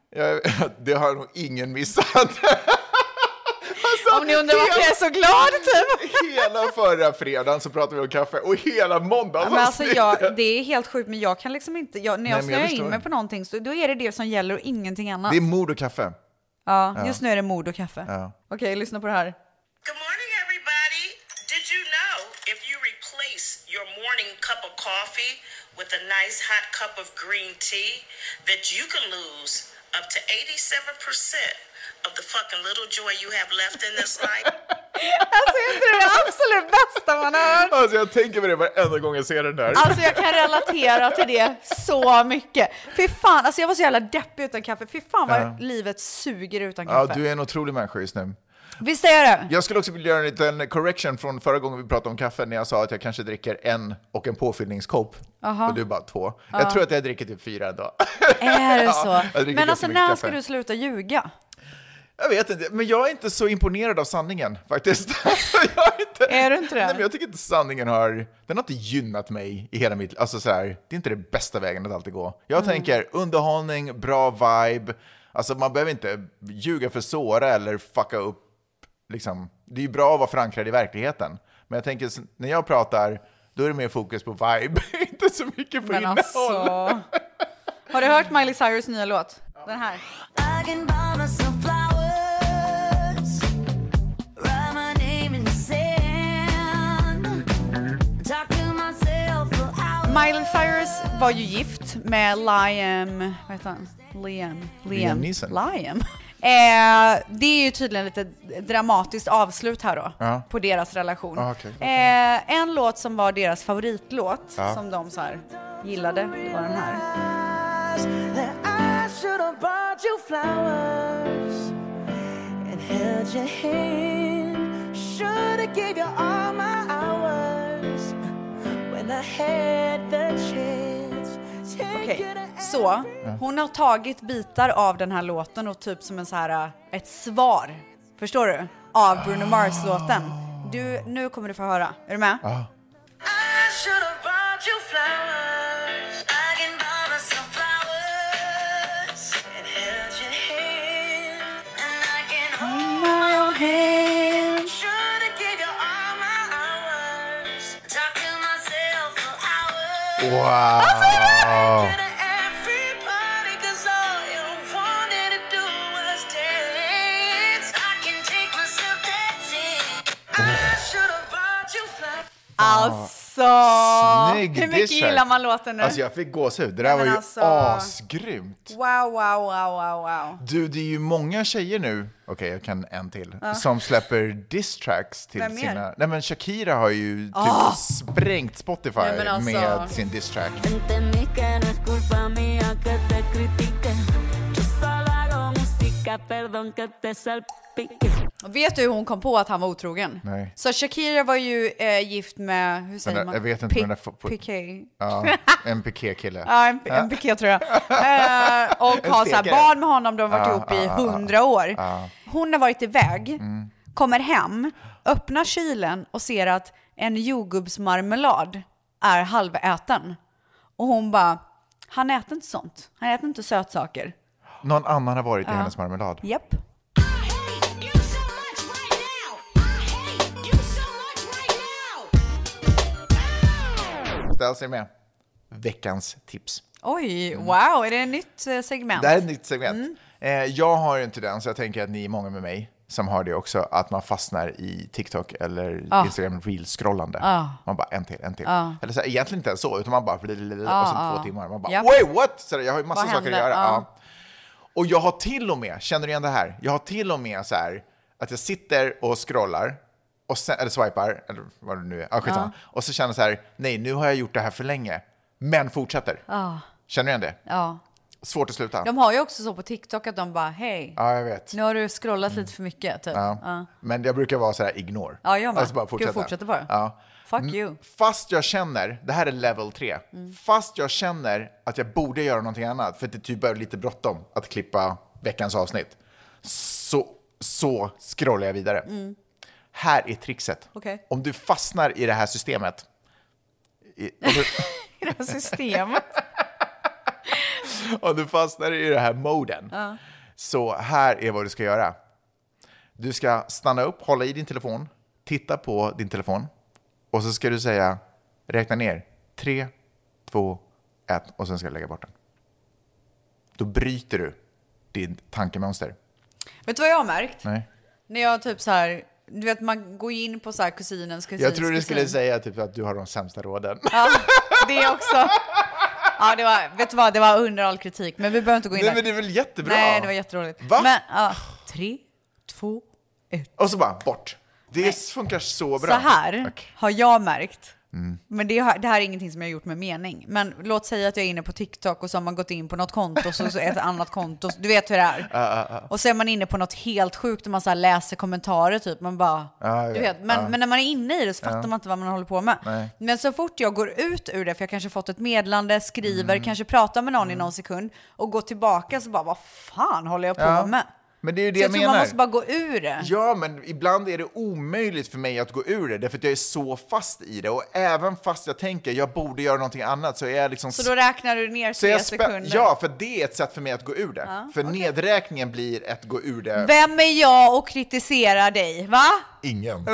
[SPEAKER 1] Jag, det har nog ingen missat. Alltså,
[SPEAKER 2] Om ni undrar varför jag är så glad typ.
[SPEAKER 1] Hela förra fredagen så pratade vi om kaffe och hela måndagen
[SPEAKER 2] Men alltså jag, det är helt sjukt men jag kan liksom inte, jag, när
[SPEAKER 1] Nej,
[SPEAKER 2] jag
[SPEAKER 1] men jag
[SPEAKER 2] snöar
[SPEAKER 1] förstår.
[SPEAKER 2] in mig på någonting så då är det det som gäller och ingenting annat.
[SPEAKER 1] Det är mord och kaffe.
[SPEAKER 2] ja,
[SPEAKER 1] Ja.
[SPEAKER 2] just nu är det mod och kaffe.
[SPEAKER 1] Ja.
[SPEAKER 2] Okej, lyssna på det här.
[SPEAKER 11] Did you know if you replace your morning cup of coffee with a nice hot cup of green tea, that you can lose up to 87% of the fucking little joy you have left in this life?
[SPEAKER 2] Alltså är inte det det absolut bästa man har hört?
[SPEAKER 1] Alltså jag tänker på det varenda gång jag ser den där.
[SPEAKER 2] Alltså jag kan relatera till det så mycket. Fy fan, alltså jag var så jävla deppig utan kaffe. Fy fan vad
[SPEAKER 1] Ja.
[SPEAKER 2] livet suger utan
[SPEAKER 1] Ja,
[SPEAKER 2] kaffe.
[SPEAKER 1] du är en otrolig människa just nu.
[SPEAKER 2] Visst är det?
[SPEAKER 1] Jag skulle också vilja göra en liten correction från förra gången vi pratade om kaffe när jag sa att jag kanske dricker en och en påfyllningskopp.
[SPEAKER 2] Aha.
[SPEAKER 1] Och du bara två.
[SPEAKER 2] Ja.
[SPEAKER 1] Jag tror att jag dricker typ fyra ändå.
[SPEAKER 2] Är det
[SPEAKER 1] Ja,
[SPEAKER 2] så?
[SPEAKER 1] jag dricker
[SPEAKER 2] Men alltså
[SPEAKER 1] jättemycket
[SPEAKER 2] när
[SPEAKER 1] kaffe.
[SPEAKER 2] ska du sluta ljuga?
[SPEAKER 1] Jag vet inte, men jag är inte så imponerad av sanningen faktiskt.
[SPEAKER 2] Är du inte det?
[SPEAKER 1] Nej, men jag tycker inte sanningen har, den har inte gynnat mig i hela mitt Alltså så här, det är inte den bästa vägen att alltid gå. Jag
[SPEAKER 2] Mm.
[SPEAKER 1] tänker underhållning, bra vibe. Alltså man behöver inte ljuga för att såra eller fucka upp. Liksom. Det är ju bra att vara förankrad i verkligheten. Men jag tänker, s- när jag pratar, då är det mer fokus på vibe. inte så mycket på
[SPEAKER 2] Men
[SPEAKER 1] innehåll.
[SPEAKER 2] alltså... Har du hört Miley Cyrus nya låt? Den här.
[SPEAKER 3] I can buy myself flowers, write my name in the sand, talk to myself for hours.
[SPEAKER 2] Miley Cyrus var ju gift med Liam... Vad heter han? Liam?
[SPEAKER 1] Liam Neeson.
[SPEAKER 2] Liam. Eh, det är ju tydligen lite dramatiskt avslut här då,
[SPEAKER 1] Ja.
[SPEAKER 2] på deras relation.
[SPEAKER 1] Ah, okej.
[SPEAKER 2] Eh, en låt som var deras favoritlåt,
[SPEAKER 1] Ja.
[SPEAKER 2] som de så här gillade, det var den här.
[SPEAKER 3] That I should have bought you flowers and held your hand. Should have gave you all my hours when I had the chance. Take
[SPEAKER 2] Okej,
[SPEAKER 3] you to
[SPEAKER 2] så hon har tagit bitar av den här låten och typ som en så här, eh, ett svar, förstår du? Av Bruno Mars-låten. Du, nu kommer du få höra. Är du med?
[SPEAKER 3] I should have bought you flowers. I can buy myself flowers and held your hand. And I can hold my own hand. Should have gave you all my hours. Talk
[SPEAKER 1] Wow!
[SPEAKER 4] Oh,
[SPEAKER 2] Alltså,
[SPEAKER 4] "Oh,
[SPEAKER 2] Alltså,
[SPEAKER 1] Snygg
[SPEAKER 2] hur mycket
[SPEAKER 1] diss här.
[SPEAKER 2] gillar man låten nu?
[SPEAKER 1] Alltså jag fick gåshud. Det där
[SPEAKER 2] Nej,
[SPEAKER 1] var
[SPEAKER 2] men
[SPEAKER 1] ju
[SPEAKER 2] alltså-
[SPEAKER 1] asgrymt.
[SPEAKER 2] Wow, wow, wow, wow, wow.
[SPEAKER 1] Du, det är ju många tjejer nu, okej jag kan en till,
[SPEAKER 2] Ja.
[SPEAKER 1] som släpper distracks till
[SPEAKER 2] Vem mer?
[SPEAKER 1] sina... Nej men Shakira har ju typ
[SPEAKER 12] Ah!
[SPEAKER 1] sprängt Spotify
[SPEAKER 12] Nej, men alltså.
[SPEAKER 1] med sin distrack.
[SPEAKER 12] Entendí que no es culpa mía que te critique. Yo solo hago música, perdón que te salpique.
[SPEAKER 2] Vet du hur hon kom på att han var otrogen?
[SPEAKER 1] Nej.
[SPEAKER 2] Så Shakira var ju eh, gift med, hur
[SPEAKER 1] Den
[SPEAKER 2] säger
[SPEAKER 1] där,
[SPEAKER 2] man?
[SPEAKER 1] jag vet inte
[SPEAKER 2] Pi-
[SPEAKER 1] vem den där...
[SPEAKER 2] Piqué.
[SPEAKER 1] Ja, en Piqué-kille.
[SPEAKER 2] Ja, en, en piké tror jag. Eh, och
[SPEAKER 1] En
[SPEAKER 2] har så här
[SPEAKER 1] stekare.
[SPEAKER 2] barn med honom, de har varit
[SPEAKER 1] Ja,
[SPEAKER 2] ihop i
[SPEAKER 1] ja, ja, ja.
[SPEAKER 2] hundra år.
[SPEAKER 1] Ja.
[SPEAKER 2] Hon har varit iväg,
[SPEAKER 1] Mm.
[SPEAKER 2] kommer hem, öppnar kylen och ser att en jordgubbsmarmelad är halväten. Och hon bara, han äter inte sånt. Han äter inte sötsaker.
[SPEAKER 1] Någon annan har varit
[SPEAKER 2] Ja.
[SPEAKER 1] i hennes marmelad.
[SPEAKER 2] Japp. Mm.
[SPEAKER 1] Ställ sig med. Veckans tips.
[SPEAKER 2] Oj,
[SPEAKER 1] Mm.
[SPEAKER 2] wow, är det ett nytt eh, segment? Mm.
[SPEAKER 1] Det här är ett nytt segment. Eh, jag har ju en tendens, jag tänker att ni är många med mig som har det också, att man fastnar i TikTok eller
[SPEAKER 2] Ah.
[SPEAKER 1] Instagram Reels-scrollande.
[SPEAKER 2] Ah.
[SPEAKER 1] Man bara en till, en till.
[SPEAKER 2] Ah.
[SPEAKER 1] Eller så här, egentligen inte ens så, utan man bara blablabla,
[SPEAKER 2] Ah,
[SPEAKER 1] och sen
[SPEAKER 2] ah.
[SPEAKER 1] två timmar. Man bara
[SPEAKER 2] Japp.
[SPEAKER 1] wait what? Så här, jag har ju massa
[SPEAKER 2] Vad
[SPEAKER 1] saker att
[SPEAKER 2] hände?
[SPEAKER 1] göra.
[SPEAKER 2] Ah.
[SPEAKER 1] Ja. Och jag har till och med, känner du igen det här? Jag har till och med så här, att jag sitter och scrollar, och sen, eller swipar, eller vad det nu är, ah, skitsamma. och så känner jag så här, nej nu har jag gjort det här för länge, men fortsätter.
[SPEAKER 2] Ah,
[SPEAKER 1] Känner du igen det?
[SPEAKER 2] ja.
[SPEAKER 1] Svårt att sluta.
[SPEAKER 2] De har ju också så på TikTok att de bara, hej,
[SPEAKER 1] Ja, jag vet.
[SPEAKER 2] nu har du scrollat lite för mycket. Typ.
[SPEAKER 1] Mm. Ja.
[SPEAKER 2] Ja.
[SPEAKER 1] Men jag brukar vara så här ignore.
[SPEAKER 2] Ja, jag med.
[SPEAKER 1] Alltså bara
[SPEAKER 2] Gud,
[SPEAKER 1] fortsätta.
[SPEAKER 2] fortsätter bara.
[SPEAKER 1] Ja. Mm.
[SPEAKER 2] Fuck you.
[SPEAKER 1] Fast jag känner, det här är level 3,
[SPEAKER 2] Mm.
[SPEAKER 1] fast jag känner att jag borde göra någonting annat, för att det typ är lite bråttom att klippa veckans avsnitt, så, så scrollar jag vidare.
[SPEAKER 2] Mm.
[SPEAKER 1] Här är trixet.
[SPEAKER 2] Okej.
[SPEAKER 1] Om du fastnar i det här systemet, i, om, du,
[SPEAKER 2] I det här systemet.
[SPEAKER 1] om du fastnar i det här moden,
[SPEAKER 2] Ja.
[SPEAKER 1] Så här är vad du ska göra. Du ska stanna upp, hålla i din telefon, titta på din telefon och så ska du säga räkna ner. tre, två, ett och sen ska du lägga bort den. Då bryter du ditt tankemönster.
[SPEAKER 2] Vet du vad jag har märkt?
[SPEAKER 1] Nej.
[SPEAKER 2] När jag typ så här, du vet man går ju in på så här kusinens kusins
[SPEAKER 1] Jag tror du skulle
[SPEAKER 2] kusin.
[SPEAKER 1] säga typ att du har de sämsta råden.
[SPEAKER 2] Ja, det också. Ja, det var, vet du vad, det var under all kritik, men vi behöver inte gå in
[SPEAKER 1] Nej
[SPEAKER 2] där.
[SPEAKER 1] men det är väl jättebra?
[SPEAKER 2] Nej, det var jätteroligt.
[SPEAKER 1] Va?
[SPEAKER 2] Men, ja, tre, två,
[SPEAKER 1] Och så bara bort. Det funkar så bra.
[SPEAKER 2] Så här har jag märkt.
[SPEAKER 1] Mm.
[SPEAKER 2] Men det, har- det här är ingenting som jag har gjort med mening. Men låt säga att jag är inne på TikTok och så har man gått in på något konto så, så ett annat konto. Du vet hur det är.
[SPEAKER 1] Ja, ja, ja.
[SPEAKER 2] Och så är man inne på något helt sjukt och man så här läser kommentarer typ. Man bara,
[SPEAKER 1] Ja, jag
[SPEAKER 2] du
[SPEAKER 1] vet.
[SPEAKER 2] vet. Men,
[SPEAKER 1] Ja.
[SPEAKER 2] men när man är inne i det så fattar
[SPEAKER 1] Ja.
[SPEAKER 2] man inte vad man håller på med.
[SPEAKER 1] Nej.
[SPEAKER 2] Men så fort jag går ut ur det, för jag kanske fått ett meddelande, skriver,
[SPEAKER 1] Mm.
[SPEAKER 2] kanske pratar med någon i någon sekund och går tillbaka så bara, vad fan håller jag på
[SPEAKER 1] Ja.
[SPEAKER 2] med?
[SPEAKER 1] Men det är ju det
[SPEAKER 2] så
[SPEAKER 1] jag
[SPEAKER 2] jag tror man
[SPEAKER 1] menar.
[SPEAKER 2] måste bara gå ur det.
[SPEAKER 1] Ja, men ibland är det omöjligt för mig att gå ur det, därför att jag är så fast i det. Och även fast jag tänker jag borde göra någonting annat så är jag liksom...
[SPEAKER 2] Så då räknar du ner
[SPEAKER 1] så
[SPEAKER 2] tre
[SPEAKER 1] jag spä-
[SPEAKER 2] sekunder.
[SPEAKER 1] Ja, för det är ett sätt för mig att gå ur det.
[SPEAKER 2] Ja,
[SPEAKER 1] för nedräkningen blir ett gå ur det...
[SPEAKER 2] Vem är jag och kritiserar dig? Va?
[SPEAKER 1] Ingen.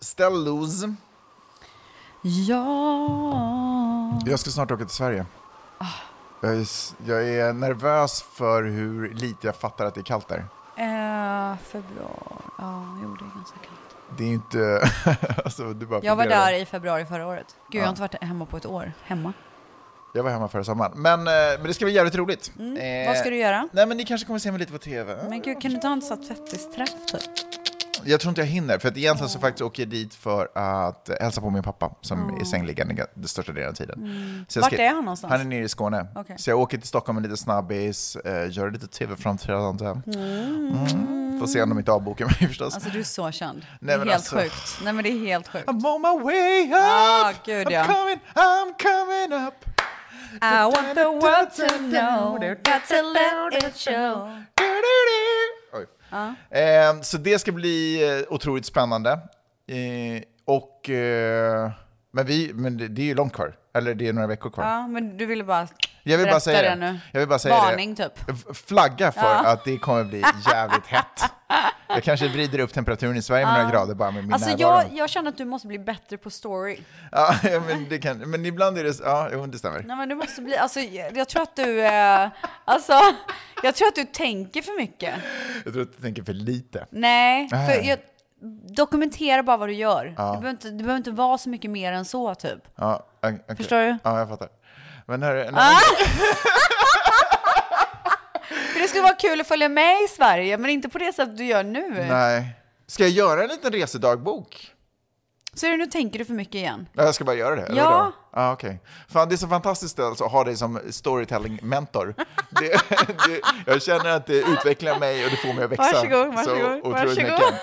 [SPEAKER 1] Ställ loose.
[SPEAKER 2] Ja.
[SPEAKER 1] Jag ska snart åka till Sverige. Jag är, s- jag är nervös för hur lite jag fattar att det är kallt där.
[SPEAKER 2] Eh, februari. Ja, jo det är ganska kallt.
[SPEAKER 1] Det är ju inte... alltså, du bara
[SPEAKER 2] Jag var
[SPEAKER 1] funderar.
[SPEAKER 2] där i februari förra året. Gud, jag
[SPEAKER 1] Ja.
[SPEAKER 2] har inte varit hemma på ett år. Hemma.
[SPEAKER 1] Jag var hemma förra sommaren. Men, eh, men det ska bli jävligt roligt. Eh,
[SPEAKER 2] Mm. Vad ska du göra?
[SPEAKER 1] Nej, men ni kanske kommer se mig lite på TV.
[SPEAKER 2] Men gud, kan du ta en sån här tvättisträff typ?
[SPEAKER 1] Jag tror inte jag hinner, för att egentligen så faktiskt åker jag dit för att hälsa på min pappa som
[SPEAKER 2] Åh.
[SPEAKER 1] är sängliggande den största delen av tiden.
[SPEAKER 2] Mm.
[SPEAKER 1] Så jag
[SPEAKER 2] Vart
[SPEAKER 1] ska-
[SPEAKER 2] är han någonstans?
[SPEAKER 1] Han är nere i Skåne.
[SPEAKER 2] Okej.
[SPEAKER 1] Så jag åker till Stockholm med lite snabbis, eh, gör lite tv-framträdande. Mm. Får se om de inte avbokar mig förstås.
[SPEAKER 2] Alltså du är så känd. Det
[SPEAKER 1] Nej,
[SPEAKER 2] är
[SPEAKER 1] men
[SPEAKER 2] helt
[SPEAKER 1] alltså-
[SPEAKER 2] sjukt. Nej men det är helt sjukt.
[SPEAKER 1] I'm on my way up!
[SPEAKER 2] Ah, gud, ja.
[SPEAKER 1] I'm coming, I'm coming up!
[SPEAKER 2] I want the world to know, got to let it show.
[SPEAKER 1] Oj.
[SPEAKER 2] Ja.
[SPEAKER 1] Eh, så det ska bli eh, otroligt spännande. Eh, och, eh, men vi, men det, det är ju långt kvar. Eller det är några veckor kvar.
[SPEAKER 2] Ja, men du ville bara
[SPEAKER 1] Jag vill bara
[SPEAKER 2] berätta
[SPEAKER 1] säga det.
[SPEAKER 2] nu.
[SPEAKER 1] Jag vill bara säga det.
[SPEAKER 2] Varning typ.
[SPEAKER 1] F- Flagga för
[SPEAKER 2] Ja.
[SPEAKER 1] att det kommer bli jävligt hett. Jag kanske vrider upp temperaturen i Sverige med
[SPEAKER 2] Ja.
[SPEAKER 1] några grader bara med min
[SPEAKER 2] alltså
[SPEAKER 1] närvaro.
[SPEAKER 2] jag, jag känner att du måste bli bättre på story.
[SPEAKER 1] Ja, men, det kan, men ibland är det... Ja, jo, det stämmer.
[SPEAKER 2] Nej men du måste bli, alltså jag jag tror att du, eh, alltså jag tror att du tänker för mycket.
[SPEAKER 1] Jag tror att du tänker för lite.
[SPEAKER 2] Nej, för
[SPEAKER 1] Nej.
[SPEAKER 2] jag, dokumentera bara vad du gör.
[SPEAKER 1] Ja.
[SPEAKER 2] Du, behöver inte, du behöver inte vara så mycket mer än så typ.
[SPEAKER 1] Ja, o- okej.
[SPEAKER 2] Förstår du?
[SPEAKER 1] Ja, jag fattar. Men hörru, nej,
[SPEAKER 2] Ah! För det skulle vara kul att följa med i Sverige, men inte på det sätt du gör nu.
[SPEAKER 1] men- nej. Ska jag göra en liten resedagbok?
[SPEAKER 2] Så är det, nu tänker du för mycket igen.
[SPEAKER 1] Ja, Jag ska bara göra det? eller
[SPEAKER 2] Ja.
[SPEAKER 1] vadå? Ja, okej. Fan, det är så fantastiskt alltså, att ha dig som storytelling-mentor. Det, det, jag känner att det utvecklar mig och det får mig att växa.
[SPEAKER 2] Varsågod,
[SPEAKER 1] så
[SPEAKER 2] varsågod,
[SPEAKER 1] otroligt
[SPEAKER 2] varsågod.
[SPEAKER 1] mycket.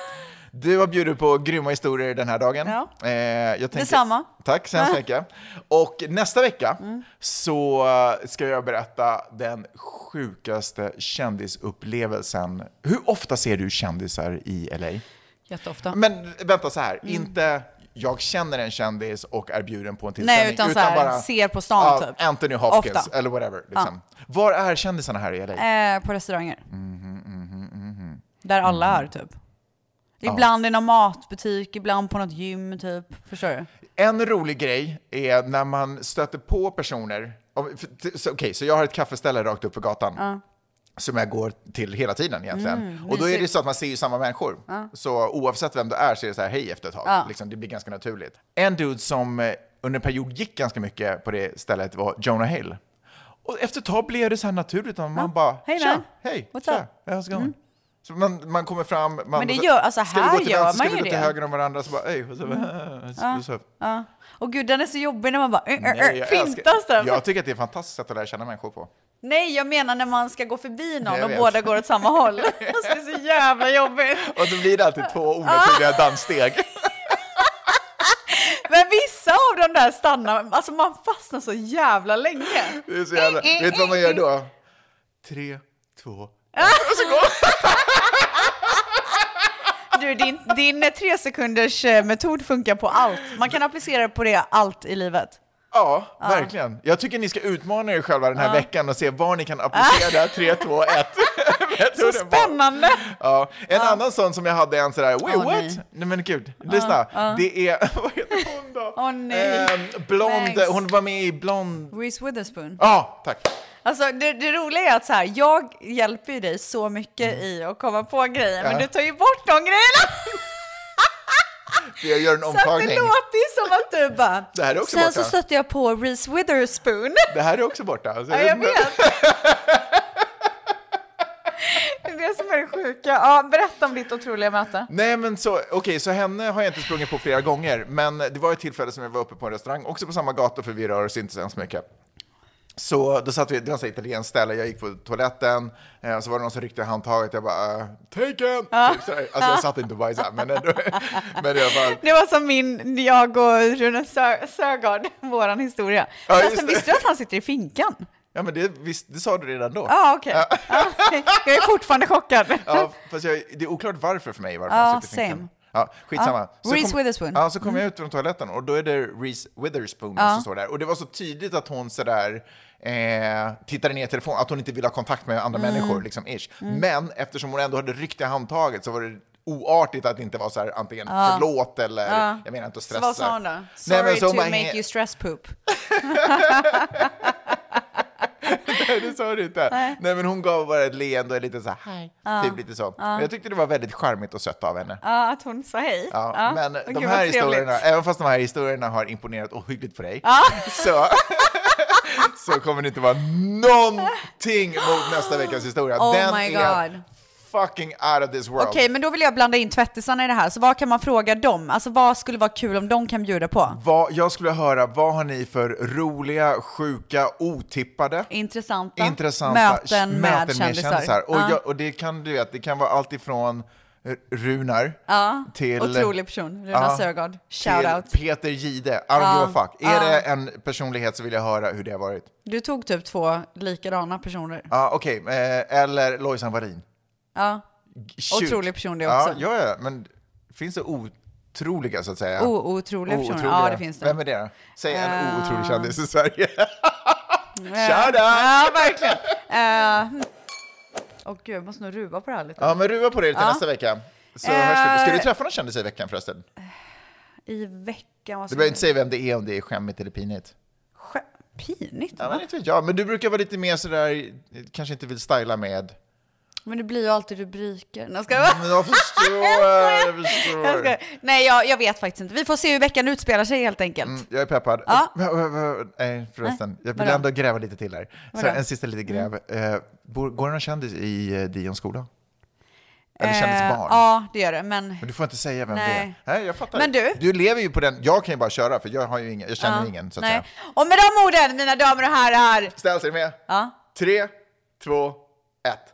[SPEAKER 1] Du har bjudit på grymma historier den här dagen.
[SPEAKER 2] Ja.
[SPEAKER 1] Eh, jag tänker,
[SPEAKER 2] Detsamma. Mm.
[SPEAKER 1] Tack så hemskt
[SPEAKER 2] Ja.
[SPEAKER 1] mycket. Och nästa vecka så eh, ska jag berätta den sjukaste kändisupplevelsen. Hur ofta ser du kändisar i LA?
[SPEAKER 2] Jätteofta.
[SPEAKER 1] Men vänta så här,
[SPEAKER 2] Mm.
[SPEAKER 1] inte jag känner en kändis och är bjuden på en tillställning.
[SPEAKER 2] Nej, utan så här, ser på stan,
[SPEAKER 1] ja,
[SPEAKER 2] typ.
[SPEAKER 1] Anthony Hopkins
[SPEAKER 2] Ofta.
[SPEAKER 1] eller whatever. Liksom. Var är kändisarna här i LA?
[SPEAKER 2] Eh, på restauranger.
[SPEAKER 1] Mhm, mhm, mhm.
[SPEAKER 2] Där alla är typ.
[SPEAKER 1] Ja.
[SPEAKER 2] Ibland i någon matbutik, ibland på något gym typ. Förstår du?
[SPEAKER 1] En rolig grej är när man stöter på personer. om- för- t- så- Okej, så jag har ett kaffeställe rakt upp för gatan.
[SPEAKER 2] Ja.
[SPEAKER 1] som jag går till hela tiden egentligen.
[SPEAKER 2] Mm,
[SPEAKER 1] och då är det
[SPEAKER 2] mysigt.
[SPEAKER 1] så att man ser ju samma människor.
[SPEAKER 2] Ja.
[SPEAKER 1] Så oavsett vem du är så är det så här hej efter ett tag.
[SPEAKER 2] Ja.
[SPEAKER 1] Liksom, det blir ganska naturligt. En dude som eh, under en period gick ganska mycket på det stället var Jonah Hill. Och efter ett tag blev det så här naturligt. Och man bara,
[SPEAKER 2] Hej
[SPEAKER 1] tja,
[SPEAKER 2] man.
[SPEAKER 1] hej,
[SPEAKER 2] What's
[SPEAKER 1] tja,
[SPEAKER 2] up? Mm.
[SPEAKER 1] how's it going? Så man, man kommer fram, man,
[SPEAKER 2] Men det gör- alltså,
[SPEAKER 1] ska vi
[SPEAKER 2] här
[SPEAKER 1] gå till
[SPEAKER 2] gör
[SPEAKER 1] vänster,
[SPEAKER 2] man
[SPEAKER 1] ska vi
[SPEAKER 2] ju
[SPEAKER 1] gå till
[SPEAKER 2] det. Mm.
[SPEAKER 1] höger om varandra? Så bara, hej, what's up? What's up?
[SPEAKER 2] Ja. Och gud, den är så jobbig när man bara "Eh, eh,
[SPEAKER 1] Nej,
[SPEAKER 2] eh",
[SPEAKER 1] jag
[SPEAKER 2] fintas
[SPEAKER 1] älskar-
[SPEAKER 2] typ.
[SPEAKER 1] Jag tycker att det är ett fantastiskt sätt att lära känna människor på.
[SPEAKER 2] Nej, jag menar när man ska gå förbi någon
[SPEAKER 1] Jag
[SPEAKER 2] och
[SPEAKER 1] vet.
[SPEAKER 2] båda går åt samma håll. Alltså, det är så jävla jobbigt.
[SPEAKER 1] Och då blir det alltid
[SPEAKER 2] Ah.
[SPEAKER 1] två onaturliga danssteg.
[SPEAKER 2] Men vissa av de där stannar, alltså man fastnar så jävla länge.
[SPEAKER 1] Det är så jävla...
[SPEAKER 2] Eh,
[SPEAKER 1] Vet du vad man gör då? Tre, två... alltså,
[SPEAKER 2] Du, din, din tre sekunders eh, metod funkar på allt. Man kan applicera det på det allt i livet.
[SPEAKER 1] Ja,
[SPEAKER 2] Ah.
[SPEAKER 1] verkligen. Jag tycker ni ska utmana er själva den här
[SPEAKER 2] Ja.
[SPEAKER 1] veckan och se var ni kan applicera
[SPEAKER 2] Ah.
[SPEAKER 1] det här tre, två, ett.
[SPEAKER 2] Så spännande!
[SPEAKER 1] Ja. En annan sån som jag hade en sådär, wait
[SPEAKER 2] Ah. Åh,
[SPEAKER 1] what?
[SPEAKER 2] nej.
[SPEAKER 1] Nej. men gud, lyssna.
[SPEAKER 2] ja.
[SPEAKER 1] Det är
[SPEAKER 2] Åh nej.
[SPEAKER 1] ehm, blond,
[SPEAKER 2] Thanks.
[SPEAKER 1] hon var med i blond...
[SPEAKER 2] Reese Witherspoon.
[SPEAKER 1] Ja, tack.
[SPEAKER 2] Alltså det, det roliga är att så här, jag hjälper ju dig så mycket i att komma på grejer,
[SPEAKER 1] Mm. Ja.
[SPEAKER 2] men du tar ju bort de grejerna!
[SPEAKER 1] Jag gör en
[SPEAKER 2] Så att det
[SPEAKER 1] omtagning.
[SPEAKER 2] låter ju som att du bara...
[SPEAKER 1] Det här är också
[SPEAKER 2] Sen
[SPEAKER 1] borta.
[SPEAKER 2] så stötte jag på Reese Witherspoon.
[SPEAKER 1] Det här är också borta. Så
[SPEAKER 2] Ja, jag vet. Det är det som är det sjuka. Ja, berätta om ditt otroliga möte.
[SPEAKER 1] Nej men så, okej, så henne har jag inte sprungit på flera gånger, men det var ett tillfälle som jag var uppe på en restaurang, också på samma gata för vi rör oss inte så hemskt mycket. Så då satt vi, det var ett italienskt ställe, jag gick på toaletten, eh, och så var det någon som ryckte i handtaget, jag bara eh, “Take it!” typ sådär. Alltså jag satt inte och bajsade, men ändå. Men jag bara,
[SPEAKER 2] Det var som min, jag och Rune Sö- Sögaard, våran historia.
[SPEAKER 1] Ja, just
[SPEAKER 2] Förresten,
[SPEAKER 1] det.
[SPEAKER 2] visste du att han sitter i finkan?
[SPEAKER 1] ja men det, visst, det sa du redan då.
[SPEAKER 2] Ja, ah, okej. Ja, okej. jag är fortfarande chockad.
[SPEAKER 1] Ja, fast jag, det är oklart varför för mig varför
[SPEAKER 2] Ja,
[SPEAKER 1] han sitter i
[SPEAKER 2] same.
[SPEAKER 1] finkan. Ja, skitsamma.
[SPEAKER 2] Ja, Reese Witherspoon. Mm.
[SPEAKER 1] Ja, så kom jag ut från toaletten och då är det Reese Witherspoon
[SPEAKER 2] Ja.
[SPEAKER 1] som står där. Och det var så tydligt att hon sådär eh, tittade ner i telefonen, att hon inte ville ha kontakt med andra
[SPEAKER 2] Mm.
[SPEAKER 1] människor. Liksom, ish.
[SPEAKER 2] Mm.
[SPEAKER 1] Men eftersom hon ändå hade ryckt i handtaget så var det oartigt att inte vara så här antingen
[SPEAKER 2] Ja.
[SPEAKER 1] förlåt eller
[SPEAKER 2] Ja.
[SPEAKER 1] jag menar inte att
[SPEAKER 2] Så
[SPEAKER 1] stressa.
[SPEAKER 2] vad sa hon då?
[SPEAKER 1] Nej,
[SPEAKER 2] Sorry
[SPEAKER 1] men så
[SPEAKER 2] to
[SPEAKER 1] man-
[SPEAKER 2] make you stress poop.
[SPEAKER 1] Nej, det sa du inte. Nej.
[SPEAKER 2] Nej.
[SPEAKER 1] men hon gav bara ett leende och lite så här, hej.
[SPEAKER 2] Ja.
[SPEAKER 1] Typ lite så.
[SPEAKER 2] Ja.
[SPEAKER 1] Men Jag tyckte det var väldigt charmigt och sött av henne.
[SPEAKER 2] Ja, att hon sa hej.
[SPEAKER 1] Ja,
[SPEAKER 2] Ja,
[SPEAKER 1] men
[SPEAKER 2] och
[SPEAKER 1] de här
[SPEAKER 2] gud, vad trevligt.
[SPEAKER 1] historierna, även fast de här historierna har imponerat ohyggligt på dig,
[SPEAKER 2] Ja.
[SPEAKER 1] så, så kommer det inte vara någonting mot nästa veckas historia.
[SPEAKER 2] Oh
[SPEAKER 1] Den
[SPEAKER 2] my
[SPEAKER 1] är
[SPEAKER 2] God.
[SPEAKER 1] fucking out of this world.
[SPEAKER 2] Okej, men då vill jag blanda in tvättisarna i det här. Så vad kan man fråga dem? Alltså vad skulle vara kul om de kan bjuda på?
[SPEAKER 1] Vad, jag skulle höra, vad har ni för roliga, sjuka, otippade,
[SPEAKER 2] Intressanta,
[SPEAKER 1] intressanta
[SPEAKER 2] möten,
[SPEAKER 1] sh-
[SPEAKER 2] med kändisar.
[SPEAKER 1] Och,
[SPEAKER 2] Ja.
[SPEAKER 1] jag, och det kan du vet, det kan vara allt ifrån eh, Runar
[SPEAKER 2] Ja,
[SPEAKER 1] till...
[SPEAKER 2] otrolig person. Runa
[SPEAKER 1] Ja,
[SPEAKER 2] Sögaard.
[SPEAKER 1] till
[SPEAKER 2] Shout out.
[SPEAKER 1] Peter Gide, I don't
[SPEAKER 2] Ja,
[SPEAKER 1] give a fuck. Är
[SPEAKER 2] ja.
[SPEAKER 1] det en personlighet så vill jag höra hur det har varit.
[SPEAKER 2] Du tog typ två likadana personer.
[SPEAKER 1] Ja, okej. eh, Eller Lojsan Varin.
[SPEAKER 2] Ja.
[SPEAKER 1] Shoot.
[SPEAKER 2] Otrolig person det
[SPEAKER 1] Ja,
[SPEAKER 2] också.
[SPEAKER 1] Ja, ja, men finns det otroliga så att säga?
[SPEAKER 2] Ootroliga personer. Ja, det finns det.
[SPEAKER 1] Vem är det då? Säg en
[SPEAKER 2] Eh.
[SPEAKER 1] ootrolig kändis i Sverige.
[SPEAKER 2] Shout
[SPEAKER 1] out!
[SPEAKER 2] Ja, verkligen. Eh, Åh gud, jag måste nog ruva på det här lite.
[SPEAKER 1] Ja, men ruva på det till
[SPEAKER 2] Ja.
[SPEAKER 1] nästa vecka. Så
[SPEAKER 2] Eh.
[SPEAKER 1] hörs vi. Ska du träffa någon kändis i veckan förresten?
[SPEAKER 2] I veckan, vad
[SPEAKER 1] Du
[SPEAKER 2] ska
[SPEAKER 1] behöver inte säga vem det är, om det är skämmigt eller pinigt.
[SPEAKER 2] Pinigt?
[SPEAKER 1] Ja,
[SPEAKER 2] va?
[SPEAKER 1] men inte vet jag. Men du brukar vara lite mer sådär, kanske inte vill styla med...
[SPEAKER 2] Men det blir ju alltid rubriker. Nej, jag ska jag
[SPEAKER 1] Men jag förstår, jag förstår.
[SPEAKER 2] Jag ska... Nej, jag, jag vet faktiskt inte. Vi får se hur veckan utspelar sig helt enkelt.
[SPEAKER 1] Mm, jag är peppad.
[SPEAKER 2] Ja.
[SPEAKER 1] Nej, förresten. Jag vill
[SPEAKER 2] vadå?
[SPEAKER 1] ändå gräva lite till här. Så
[SPEAKER 2] Vadå? Mm.
[SPEAKER 1] en sista liten gräv. Eh, bor- går det någon kändis i eh, Dions skola? Eller kändisbarn?
[SPEAKER 2] Eh, ja, det gör det. Men
[SPEAKER 1] Men du får inte säga vem det är.
[SPEAKER 2] Nej.
[SPEAKER 1] Nej, jag fattar.
[SPEAKER 2] Men du?
[SPEAKER 1] Du lever ju på den. Jag kan ju bara köra, för jag, har ju ingen, jag känner
[SPEAKER 2] Ja,
[SPEAKER 1] ingen, så att
[SPEAKER 2] nej.
[SPEAKER 1] säga.
[SPEAKER 2] Och med de orden, mina damer och herrar.
[SPEAKER 1] Ställs er med?
[SPEAKER 2] Ja.
[SPEAKER 1] Tre, två, ett.